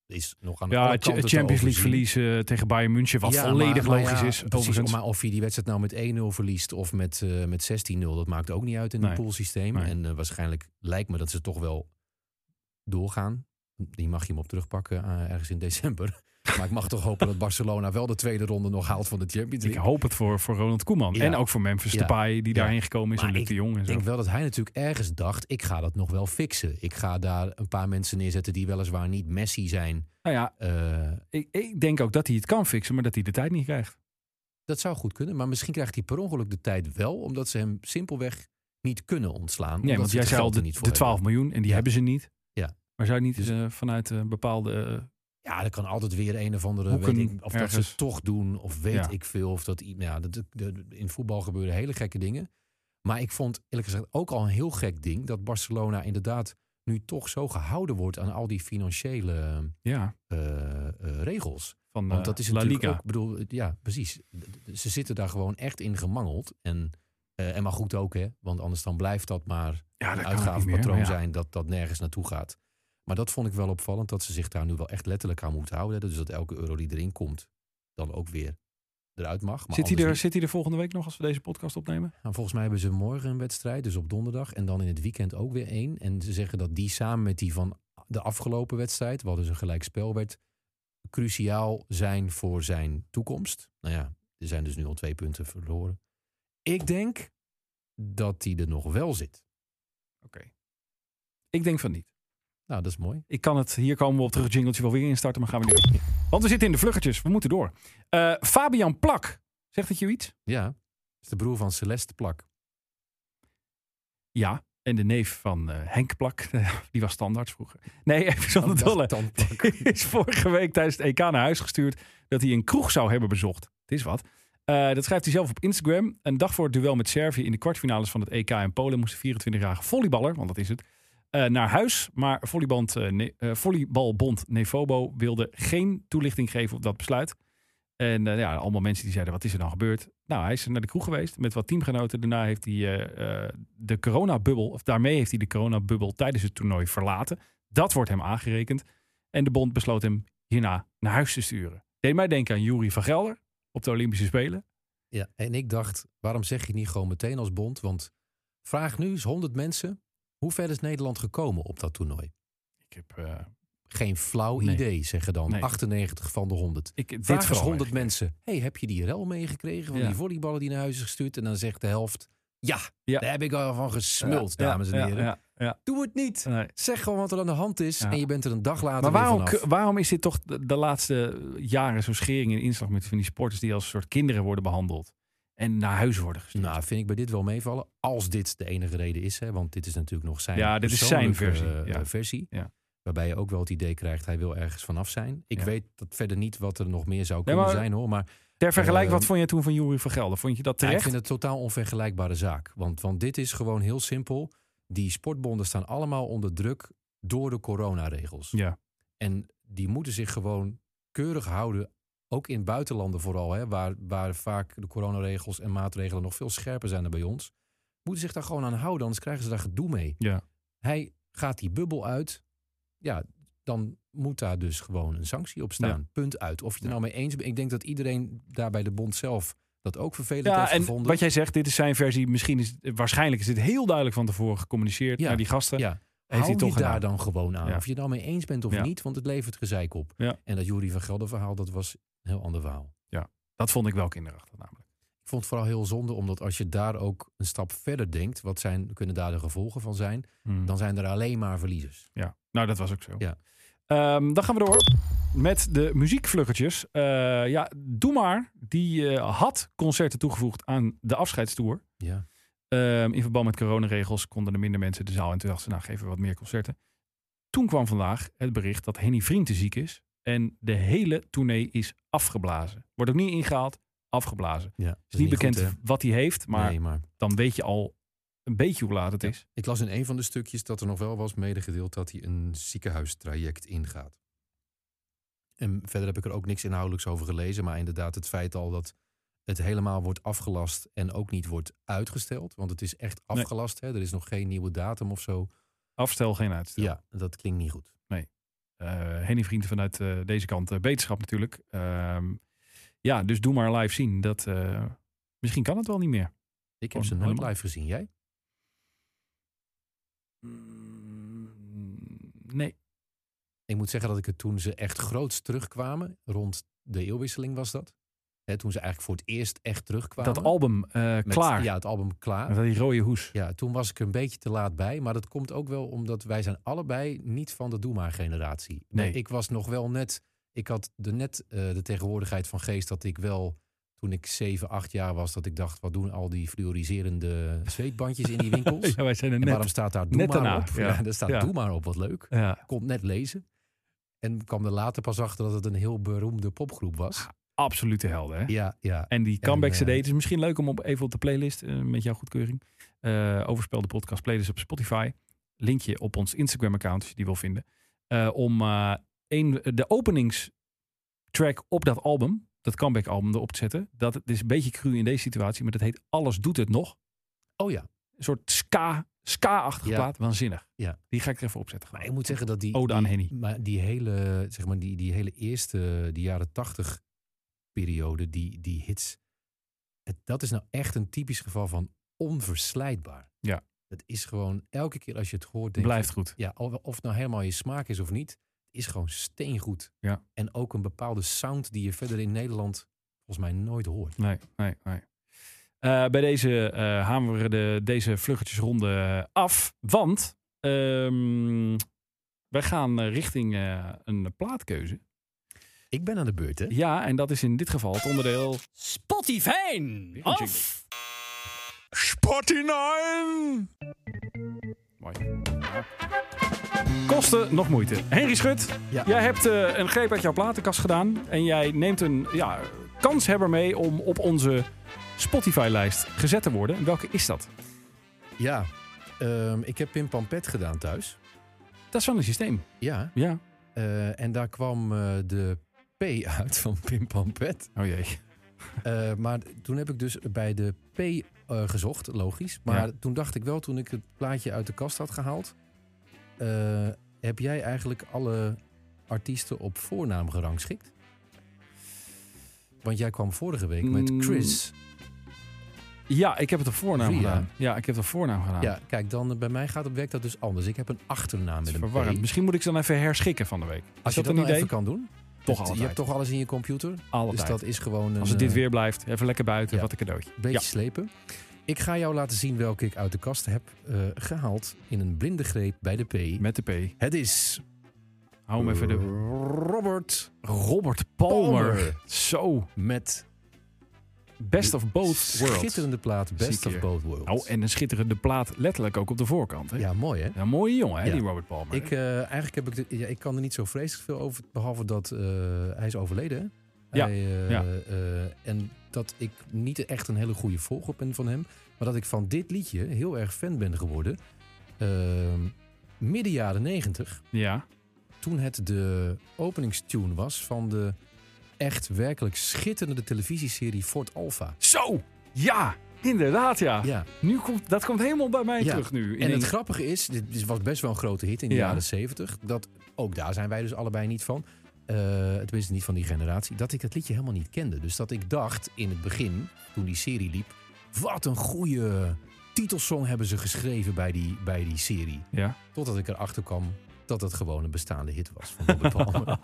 Speaker 4: is nog aan de
Speaker 3: Ja,
Speaker 4: alle
Speaker 3: het
Speaker 4: kanten te
Speaker 3: Champions League
Speaker 4: overzien.
Speaker 3: verliezen tegen Bayern München, wat
Speaker 4: Ja,
Speaker 3: volledig
Speaker 4: maar- maar
Speaker 3: logisch
Speaker 4: ja,
Speaker 3: is.
Speaker 4: precies,
Speaker 3: overigens.
Speaker 4: maar of je die wedstrijd nou met 1-0 verliest of met, eh, met 16-0, dat maakt ook niet uit in
Speaker 3: Nee.
Speaker 4: het poolsysteem.
Speaker 3: Nee.
Speaker 4: En eh, waarschijnlijk lijkt me dat ze toch wel doorgaan. Die mag je hem op terugpakken eh, ergens in december. Maar ik mag toch hopen dat Barcelona wel de tweede ronde nog haalt van de Champions
Speaker 3: ik
Speaker 4: League.
Speaker 3: hoep het voor, voor Ronald Koeman.
Speaker 4: Ja.
Speaker 3: En ook voor Memphis
Speaker 4: Ja.
Speaker 3: Depay, die
Speaker 4: Ja.
Speaker 3: daarheen gekomen is.
Speaker 4: Maar
Speaker 3: en Luc
Speaker 4: ik
Speaker 3: de Jong en
Speaker 4: Ik
Speaker 3: zo.
Speaker 4: denk wel dat hij natuurlijk ergens dacht, ik ga dat nog wel fixen. Ik ga daar een paar mensen neerzetten die weliswaar niet Messi zijn.
Speaker 3: nou ja,
Speaker 4: Eh,
Speaker 3: ik, ik denk ook dat hij het kan fixen, maar dat hij de tijd niet krijgt.
Speaker 4: Dat zou goed kunnen, maar misschien krijgt hij per ongeluk de tijd wel, omdat ze hem simpelweg niet kunnen ontslaan.
Speaker 3: Nee,
Speaker 4: omdat
Speaker 3: want
Speaker 4: ze
Speaker 3: jij
Speaker 4: het
Speaker 3: zei al
Speaker 4: geld er
Speaker 3: de,
Speaker 4: niet voor
Speaker 3: de 12
Speaker 4: hebben.
Speaker 3: miljoen en die
Speaker 4: Ja.
Speaker 3: hebben ze niet.
Speaker 4: Ja. Dus-
Speaker 3: Maar zou je niet eh, vanuit eh, bepaalde... eh,
Speaker 4: Ja, er kan altijd weer een of andere.
Speaker 3: Hoeken
Speaker 4: Weet ik, of dat ze
Speaker 3: ergens.
Speaker 4: het toch doen, of weet
Speaker 3: Ja.
Speaker 4: ik veel. Of dat, i- nou ja, dat, de- de- in voetbal gebeuren hele gekke dingen. Maar ik vond eerlijk gezegd ook al een heel gek ding dat Barcelona inderdaad nu toch zo gehouden wordt aan al die financiële
Speaker 3: ja,
Speaker 4: eh, eh, regels.
Speaker 3: van
Speaker 4: Want
Speaker 3: eh,
Speaker 4: dat is
Speaker 3: La
Speaker 4: natuurlijk
Speaker 3: Liga.
Speaker 4: ook, bedoel, ja, precies. D- d- Ze zitten daar gewoon echt in gemangeld. En, eh, en maar goed ook, hè. Want anders dan blijft dat maar
Speaker 3: ja, kan ook
Speaker 4: een
Speaker 3: niet meer,
Speaker 4: uitgavenpatroon
Speaker 3: maar ja.
Speaker 4: zijn dat dat nergens naartoe gaat. Maar dat vond ik wel opvallend, dat ze zich daar nu wel echt letterlijk aan moeten houden. Dus dat elke euro die erin komt, dan ook weer eruit mag. Maar
Speaker 3: Zit hij,
Speaker 4: anders
Speaker 3: er,
Speaker 4: niet.
Speaker 3: zit hij er volgende week nog als we deze podcast opnemen?
Speaker 4: Nou, volgens mij hebben ze morgen een wedstrijd, dus op donderdag. En dan in het weekend ook weer één. En ze zeggen dat die samen met die van de afgelopen wedstrijd, wat dus een gelijkspel werd, cruciaal zijn voor zijn toekomst. Nou ja, er zijn dus nu al twee punten verloren. Ik denk dat hij er nog wel zit.
Speaker 3: Oké. Ik denk van niet.
Speaker 4: Nou, dat is mooi.
Speaker 3: Ik kan het, hier komen we op terug, jingletje wel weer instarten, maar gaan we niet. Want we zitten in de vluggetjes, we moeten door. Eh, Fabian Plak, zegt het je iets?
Speaker 4: Ja, dat is de broer van Celeste Plak.
Speaker 3: Ja. En de neef van eh, Henk Plak, die was standaard vroeger. Nee, even zonder
Speaker 4: Oh, Dat
Speaker 3: dolle.
Speaker 4: dan-
Speaker 3: is vorige week tijdens het EK naar huis gestuurd dat hij een kroeg zou hebben bezocht. Het is wat. Eh, dat schrijft hij zelf op Instagram. Een dag voor het duel met Servië in de kwartfinales van het EK in Polen moest de 24-jarige volleyballer, want dat is het, eh, naar huis. Maar volleyband, eh, ne- eh, volleybalbond Nefobo wilde geen toelichting geven op dat besluit. En eh, ja, allemaal mensen die zeiden, wat is er dan gebeurd? Nou, hij is naar de kroeg geweest met wat teamgenoten. Daarna heeft hij eh, eh, de coronabubbel, of daarmee heeft hij de coronabubbel tijdens het toernooi verlaten. Dat wordt hem aangerekend. En de bond besloot hem hierna naar huis te sturen. Deed mij denken aan Juri van Gelder op de Olympische Spelen.
Speaker 4: Ja, en ik dacht, waarom zeg je niet gewoon meteen als bond? Want vraag nu eens 100 mensen, hoe ver is Nederland gekomen op dat toernooi?
Speaker 3: Ik heb eh,
Speaker 4: Geen flauw
Speaker 3: Nee.
Speaker 4: idee, zeggen dan
Speaker 3: Nee.
Speaker 4: 98 van de 100.
Speaker 3: ik, dit
Speaker 4: Vraag eens
Speaker 3: vooral
Speaker 4: 100
Speaker 3: eigenlijk.
Speaker 4: mensen, hey, heb je die rel meegekregen van
Speaker 3: Ja.
Speaker 4: die volleyballen die naar huis is gestuurd? En dan zegt de helft, ja,
Speaker 3: Ja.
Speaker 4: daar heb ik al van gesmuld,
Speaker 3: Ja,
Speaker 4: dames en
Speaker 3: ja,
Speaker 4: heren.
Speaker 3: ja, ja.
Speaker 4: Doe het niet.
Speaker 3: Nee.
Speaker 4: Zeg gewoon wat er aan de hand is
Speaker 3: Ja.
Speaker 4: en je bent er een dag later
Speaker 3: Maar waarom,
Speaker 4: weer vanaf.
Speaker 3: k- waarom is dit toch de, de laatste jaren zo'n schering en inslag met van die sporters die als soort kinderen worden behandeld en naar huis worden gestuurd?
Speaker 4: Nou, vind ik bij dit wel meevallen. Als dit de enige reden is, hè, want dit is natuurlijk nog zijn
Speaker 3: Ja, dit is zijn
Speaker 4: persoonlijke,
Speaker 3: versie,
Speaker 4: eh,
Speaker 3: ja.
Speaker 4: versie,
Speaker 3: Ja.
Speaker 4: Waarbij je ook wel het idee krijgt, hij wil ergens vanaf zijn. Ik
Speaker 3: Ja.
Speaker 4: weet dat verder niet wat er nog meer zou
Speaker 3: Nee,
Speaker 4: kunnen
Speaker 3: maar-
Speaker 4: zijn hoor. Maar
Speaker 3: Ter vergelijking,
Speaker 4: eh,
Speaker 3: wat vond jij toen van Juri van Gelder? Vond je dat
Speaker 4: ja, ik
Speaker 3: terecht?
Speaker 4: vind het een totaal onvergelijkbare zaak. Want, want dit is gewoon heel simpel. Die sportbonden staan allemaal onder druk door de coronaregels.
Speaker 3: Ja.
Speaker 4: En die moeten zich gewoon keurig houden. Ook in buitenlanden vooral, hè, waar, waar vaak de coronaregels en maatregelen nog veel scherper zijn dan bij ons. Moeten zich daar gewoon aan houden, anders krijgen ze daar gedoe mee.
Speaker 3: Ja.
Speaker 4: Hij gaat die bubbel uit. Ja, dan moet daar dus gewoon een sanctie op staan. Punt uit. Of je het er nou mee eens bent. Ik denk dat iedereen daar bij de bond zelf dat ook vervelend heeft
Speaker 3: Ja, en
Speaker 4: gevonden.
Speaker 3: wat jij zegt, dit is zijn versie. Misschien is, waarschijnlijk is dit heel duidelijk van tevoren gecommuniceerd
Speaker 4: Ja.
Speaker 3: naar die gasten.
Speaker 4: Ja.
Speaker 3: Heeft
Speaker 4: Hou
Speaker 3: hij toch
Speaker 4: je daar
Speaker 3: gedaan.
Speaker 4: dan gewoon aan.
Speaker 3: Ja.
Speaker 4: Of je het nou mee eens bent of
Speaker 3: Ja.
Speaker 4: niet, want het levert gezeik op.
Speaker 3: Ja.
Speaker 4: En dat Jury van Gelder verhaal, dat was een heel ander verhaal.
Speaker 3: Dat vond ik wel kinderachtig namelijk.
Speaker 4: Ik vond het vooral heel zonde, omdat als je daar ook een stap verder denkt, wat zijn, kunnen daar de gevolgen van zijn,
Speaker 3: Hmm.
Speaker 4: dan zijn er alleen maar verliezers.
Speaker 3: Ja, nou dat was ook zo.
Speaker 4: Ja.
Speaker 3: Ehm, dan gaan we door met de muziekvluggetjes. Eh, ja, Doe Maar, die eh, had concerten toegevoegd aan de afscheidstour.
Speaker 4: Ja.
Speaker 3: Ehm, in verband met coronaregels konden er minder mensen de zaal. En toen dachten ze, nou geven we wat meer concerten. Toen kwam vandaag het bericht dat Henny Vriend te ziek is. En de hele tournee is afgeblazen. Wordt ook niet ingehaald, afgeblazen.
Speaker 4: ja
Speaker 3: Het is niet, bekend wat hij heeft, maar
Speaker 4: nee, maar
Speaker 3: dan weet je al een beetje hoe laat het is.
Speaker 4: ik las in een van de stukjes dat er nog wel was medegedeeld dat hij een ziekenhuistraject ingaat. En verder heb ik er ook niks inhoudelijks over gelezen, maar inderdaad het feit al dat het helemaal wordt afgelast en ook niet wordt uitgesteld. Want het is echt
Speaker 3: Nee.
Speaker 4: afgelast, hè? er is nog geen nieuwe datum of zo.
Speaker 3: Afstel, geen uitstel.
Speaker 4: Ja, dat klinkt niet goed.
Speaker 3: eh Henny Vriend vanuit eh, deze kant, eh, Beterschap natuurlijk. Ehm, ja, dus doe maar live zien. Dat, eh, misschien kan het wel niet meer.
Speaker 4: Ik heb
Speaker 3: Gewoon
Speaker 4: ze nooit
Speaker 3: Oh, helemaal-
Speaker 4: live gezien, jij?
Speaker 3: Mm, Nee.
Speaker 4: Ik moet zeggen dat ik het toen ze echt groots terugkwamen, rond de eeuwwisseling was dat. Hè, toen ze eigenlijk voor het eerst echt terugkwamen.
Speaker 3: Dat album eh,
Speaker 4: Met-
Speaker 3: klaar.
Speaker 4: Ja, het album klaar.
Speaker 3: Met die rode hoes.
Speaker 4: Ja, toen was ik er een beetje te laat bij. Maar dat komt ook wel omdat wij zijn allebei niet van de Doe Maar generatie. Maar
Speaker 3: Nee.
Speaker 4: Ik was nog wel net... Ik had de net eh, de tegenwoordigheid van geest dat ik wel... Toen ik 7, 8 jaar was, dat ik dacht... Wat doen al die fluoriserende zweetbandjes in die winkels?
Speaker 3: Ja, wij zijn er
Speaker 4: En waarom
Speaker 3: net.
Speaker 4: staat daar Doe
Speaker 3: net
Speaker 4: Maar
Speaker 3: daarna,
Speaker 4: op?
Speaker 3: ja.
Speaker 4: Ja. daar staat
Speaker 3: Ja.
Speaker 4: Doe Maar op, wat leuk.
Speaker 3: Ja,
Speaker 4: Kon net lezen. En kwam er later pas achter dat het een heel beroemde popgroep
Speaker 3: Ah,
Speaker 4: was.
Speaker 3: absolute helden. Hè?
Speaker 4: Ja, ja.
Speaker 3: En die comeback
Speaker 4: En,
Speaker 3: CD.
Speaker 4: eh,
Speaker 3: Het is misschien leuk om op, even op de playlist, eh, met jouw goedkeuring. eh Overspel de podcast playlist op Spotify. Linkje op ons Instagram account, als je die wil vinden. Eh, om eh, een, de openingstrack op dat album, dat comeback album erop te zetten. Dat het is een beetje cru in deze situatie, maar dat heet Alles doet het nog.
Speaker 4: Oh ja.
Speaker 3: Een soort ska, ska-achtige
Speaker 4: Ja.
Speaker 3: plaat. Waanzinnig.
Speaker 4: Ja.
Speaker 3: Die ga ik er even opzetten.
Speaker 4: Maar ik moet zeggen dat die...
Speaker 3: Ode aan
Speaker 4: die-
Speaker 3: Henny.
Speaker 4: Maar die hele, zeg maar, die, die hele eerste, die jaren tachtig periode, die, die hits. het- dat is nou echt een typisch geval van onverslijtbaar.
Speaker 3: Ja.
Speaker 4: Het is gewoon elke keer als je het hoort, denk je,
Speaker 3: Blijft goed.
Speaker 4: ja, of, of het nou helemaal je smaak is of niet. is gewoon steengoed.
Speaker 3: Ja.
Speaker 4: En ook een bepaalde sound die je verder in Nederland volgens mij nooit hoort.
Speaker 3: Nee, nee, nee. Eh, bij deze eh hameren we de, deze vluggetjesronde eh, af. Want ehm, wij gaan eh, richting eh, een plaatkeuze.
Speaker 4: Ik ben aan de beurt, hè?
Speaker 3: Ja, en dat is in dit geval het onderdeel...
Speaker 9: Spotify
Speaker 3: Weer een jingle.
Speaker 9: of
Speaker 3: Mooi. Ja. Kosten nog moeite. Henry Schut,
Speaker 4: Ja.
Speaker 3: jij hebt eh, een greep uit jouw platenkast gedaan. En jij neemt een ja, kanshebber mee om op onze Spotify-lijst gezet te worden. En welke is dat?
Speaker 4: Ja. Ehm, ik heb Pim Pampet gedaan thuis.
Speaker 3: Dat is van een systeem.
Speaker 4: Ja.
Speaker 3: Ja.
Speaker 4: eh, en daar kwam eh, de P uit van Pim Pampet.
Speaker 3: Oh jee.
Speaker 4: Eh, maar toen heb ik dus bij de P eh, gezocht, logisch. Maar
Speaker 3: Ja.
Speaker 4: toen dacht ik wel, toen ik het plaatje uit de kast had gehaald... eh, heb jij eigenlijk alle artiesten op voornaam gerangschikt? Want jij kwam vorige week met
Speaker 3: Mm,
Speaker 4: Chris.
Speaker 3: Ja, ik heb het op voornaam
Speaker 4: Ria.
Speaker 3: gedaan. Ja, ik heb het op voornaam gedaan.
Speaker 4: Ja, kijk, dan eh, bij mij gaat het werkt dat dus anders. Ik heb een achternaam
Speaker 3: Het
Speaker 4: met
Speaker 3: is
Speaker 4: een
Speaker 3: verwarrend.
Speaker 4: P.
Speaker 3: Misschien moet ik ze dan even herschikken van de week.
Speaker 4: Als je
Speaker 3: dat
Speaker 4: dat
Speaker 3: een
Speaker 4: nou
Speaker 3: idee?
Speaker 4: even kan doen.
Speaker 3: Toch
Speaker 4: Het-
Speaker 3: altijd.
Speaker 4: Je hebt toch alles in je computer.
Speaker 3: Altijd.
Speaker 4: Dus dat is gewoon een
Speaker 3: Als het dit
Speaker 4: eh,
Speaker 3: weer blijft, even lekker buiten,
Speaker 4: ja.
Speaker 3: wat een cadeautje.
Speaker 4: beetje
Speaker 3: Ja.
Speaker 4: slepen. Ik ga jou laten zien welke ik uit de kast heb eh, gehaald in een blinde greep bij de P.
Speaker 3: Met de P.
Speaker 4: Het is
Speaker 3: Hou hem even de...
Speaker 4: Robert
Speaker 3: Robert Palmer.
Speaker 4: Palmer.
Speaker 3: Zo.
Speaker 4: met
Speaker 3: Best of both worlds.
Speaker 4: schitterende plaat Best
Speaker 3: Zieke.
Speaker 4: of Both Worlds.
Speaker 3: Nou, en een schitterende plaat letterlijk ook op de voorkant. Hè?
Speaker 4: Ja, mooi hè?
Speaker 3: Ja, mooie jongen, hè,
Speaker 4: Ja.
Speaker 3: die Robert Palmer.
Speaker 4: Ik, eh, eigenlijk heb ik, de- ja, ik kan er niet zo vreselijk veel over, behalve dat eh, hij is overleden. Hè?
Speaker 3: Ja,
Speaker 4: Hij, eh,
Speaker 3: ja.
Speaker 4: eh, en dat ik niet echt een hele goede volger ben van hem. Maar dat ik van dit liedje heel erg fan ben geworden. Ehm, midden jaren negentig.
Speaker 3: Ja.
Speaker 4: toen het de openingstune was van de echt werkelijk schitterende televisieserie Fort Alpha.
Speaker 3: Zo! Ja! Inderdaad, ja.
Speaker 4: Ja,
Speaker 3: Nu komt, dat komt helemaal bij mij
Speaker 4: Ja.
Speaker 3: terug nu.
Speaker 4: en het
Speaker 3: Ineens-
Speaker 4: grappige is, dit is- was best wel een grote hit in de
Speaker 3: Ja.
Speaker 4: jaren 70. Dat, ook daar zijn wij dus allebei niet van. Eh tenminste niet van die generatie. Dat ik het liedje helemaal niet kende. Dus dat ik dacht in het begin, toen die serie liep... Wat een goede titelsong hebben ze geschreven bij die, bij die serie.
Speaker 3: Ja.
Speaker 4: Totdat ik erachter kwam dat het gewoon een bestaande hit was van Robert Palmer.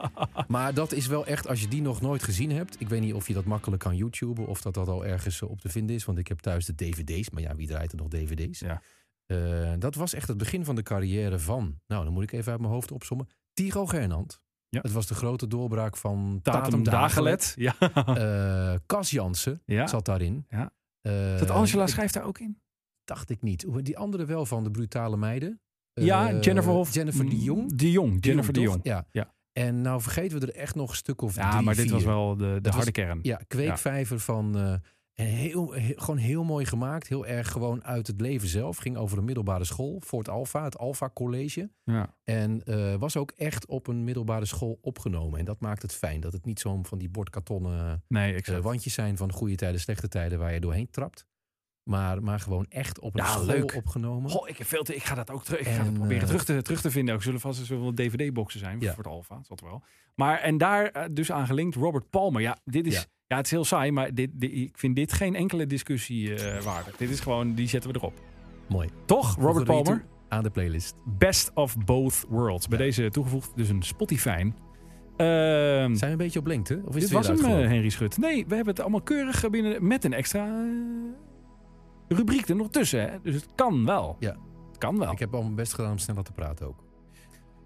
Speaker 4: maar dat is wel echt, als je die nog nooit gezien hebt... ik weet niet of je dat makkelijk kan YouTuben... of dat dat al ergens eh, op te vinden is. Want ik heb thuis de dvd's. Maar ja, wie draait er nog dvd's?
Speaker 3: Ja.
Speaker 4: Eh, dat was echt het begin van de carrière van... nou, dan moet ik even uit mijn hoofd opzommen... Tigo Gernand.
Speaker 3: Ja.
Speaker 4: Het was de grote doorbraak van
Speaker 3: Datum, Dagelet. Ja.
Speaker 4: Eh, Cas Jansen
Speaker 3: ja.
Speaker 4: zat daarin.
Speaker 3: Ja.
Speaker 4: Eh,
Speaker 3: Zat Angela
Speaker 4: ik-
Speaker 3: schrijft daar ook in?
Speaker 4: Dacht ik niet. Hoe- Die andere wel van de brutale meiden.
Speaker 3: ja,
Speaker 4: Eh,
Speaker 3: Jennifer Hof.
Speaker 4: Jennifer de Jong.
Speaker 3: De Jong, Jennifer de
Speaker 4: toch?
Speaker 3: Jong.
Speaker 4: Ja.
Speaker 3: Ja.
Speaker 4: En nou vergeten we er echt nog een stuk of
Speaker 3: Ja,
Speaker 4: drie,
Speaker 3: maar dit was
Speaker 4: vier.
Speaker 3: wel de, de
Speaker 4: was-
Speaker 3: harde kern.
Speaker 4: Ja, kweekvijver van... eh, en heel, he- gewoon heel mooi gemaakt. Heel erg gewoon uit het leven zelf. Ging over een middelbare school. Fort Alpha, het Alpha College.
Speaker 3: Ja.
Speaker 4: En eh, was ook echt op een middelbare school opgenomen. En dat maakt het fijn. Dat het niet zo'n van die bordkartonnen
Speaker 3: Nee,
Speaker 4: eh,
Speaker 3: exact.
Speaker 4: wandjes zijn... van goede tijden, slechte tijden waar je doorheen trapt. Maar, maar gewoon echt op een
Speaker 3: Ja,
Speaker 4: school
Speaker 3: Nou, leuk.
Speaker 4: opgenomen.
Speaker 3: Goh, ik heb veel te... Ik ga dat ook terug. Ik ga
Speaker 4: En,
Speaker 3: dat proberen
Speaker 4: eh,
Speaker 3: terug, te, terug te vinden. Ook zullen vast zullen wel DVD-boxen zijn
Speaker 4: Ja.
Speaker 3: voor het Alfa. Dat wel. Maar en daar eh, dus aan gelinkt Robert Palmer. Ja, dit is... Ja.
Speaker 4: Ja.
Speaker 3: het is heel saai, maar dit, dit- ik vind dit geen enkele discussie eh, waardig. Dit is gewoon, die zetten we erop.
Speaker 4: Mooi.
Speaker 3: Toch,
Speaker 4: Voegen
Speaker 3: Robert
Speaker 4: we die
Speaker 3: Palmer? Hm.
Speaker 4: toe Aan de playlist.
Speaker 3: Best of both worlds. Bij deze toegevoegd, dus een Spotify. Ehm
Speaker 4: Zijn we een beetje op lengte? Of
Speaker 3: dit
Speaker 4: is het
Speaker 3: was
Speaker 4: weer
Speaker 3: hem, eh,
Speaker 4: uitgelopen?
Speaker 3: Henry Schut. Nee, we hebben het allemaal keurig eh, binnen met een extra eh, rubriek er nog tussen. Hè? Dus het kan wel.
Speaker 4: Ja.
Speaker 3: Het kan wel.
Speaker 4: Ik heb al mijn best gedaan om sneller te praten ook.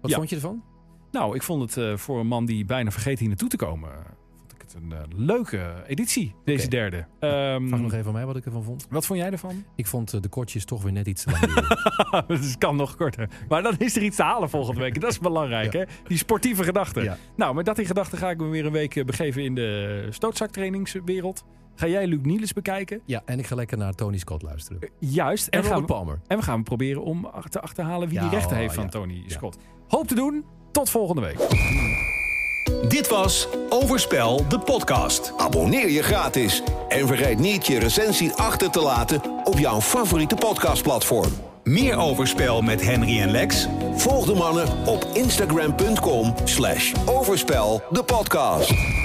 Speaker 4: Wat
Speaker 3: Ja.
Speaker 4: vond je ervan?
Speaker 3: Nou, ik vond het eh, voor een man die bijna vergeet hier naartoe te komen... eh, vond ik het een eh, leuke editie, deze
Speaker 4: Oké.
Speaker 3: derde. Ehm,
Speaker 4: Vraag nog even aan mij wat ik ervan vond.
Speaker 3: wat vond jij ervan?
Speaker 4: Mm. Ik vond eh, de kortjes toch weer net iets te lang. duren.
Speaker 3: dus het kan nog korter. Maar dan is er iets te halen volgende week. Dat is belangrijk,
Speaker 4: Ja.
Speaker 3: hè? Die sportieve gedachte.
Speaker 4: Ja.
Speaker 3: Nou, met dat in gedachten ga ik me weer een week eh, begeven in de stootzaktrainingswereld. Ga jij Luc Niels bekijken?
Speaker 4: ja, en ik ga lekker naar Tony Scott luisteren. En,
Speaker 3: Juist. En, gaan
Speaker 4: Robert
Speaker 3: we,
Speaker 4: Palmer.
Speaker 3: en we gaan proberen om ach- te achterhalen wie
Speaker 4: Ja,
Speaker 3: die rechten
Speaker 4: oh,
Speaker 3: heeft van
Speaker 4: ja.
Speaker 3: Tony Scott. Hoop te doen. Tot volgende week.
Speaker 1: Dit was Overspel, de podcast.
Speaker 8: Abonneer je gratis en vergeet niet je recensie achter te laten op jouw favoriete podcastplatform.
Speaker 1: Meer Overspel met Henry en Lex
Speaker 8: Volg de mannen op instagram.com slash overspel de podcast.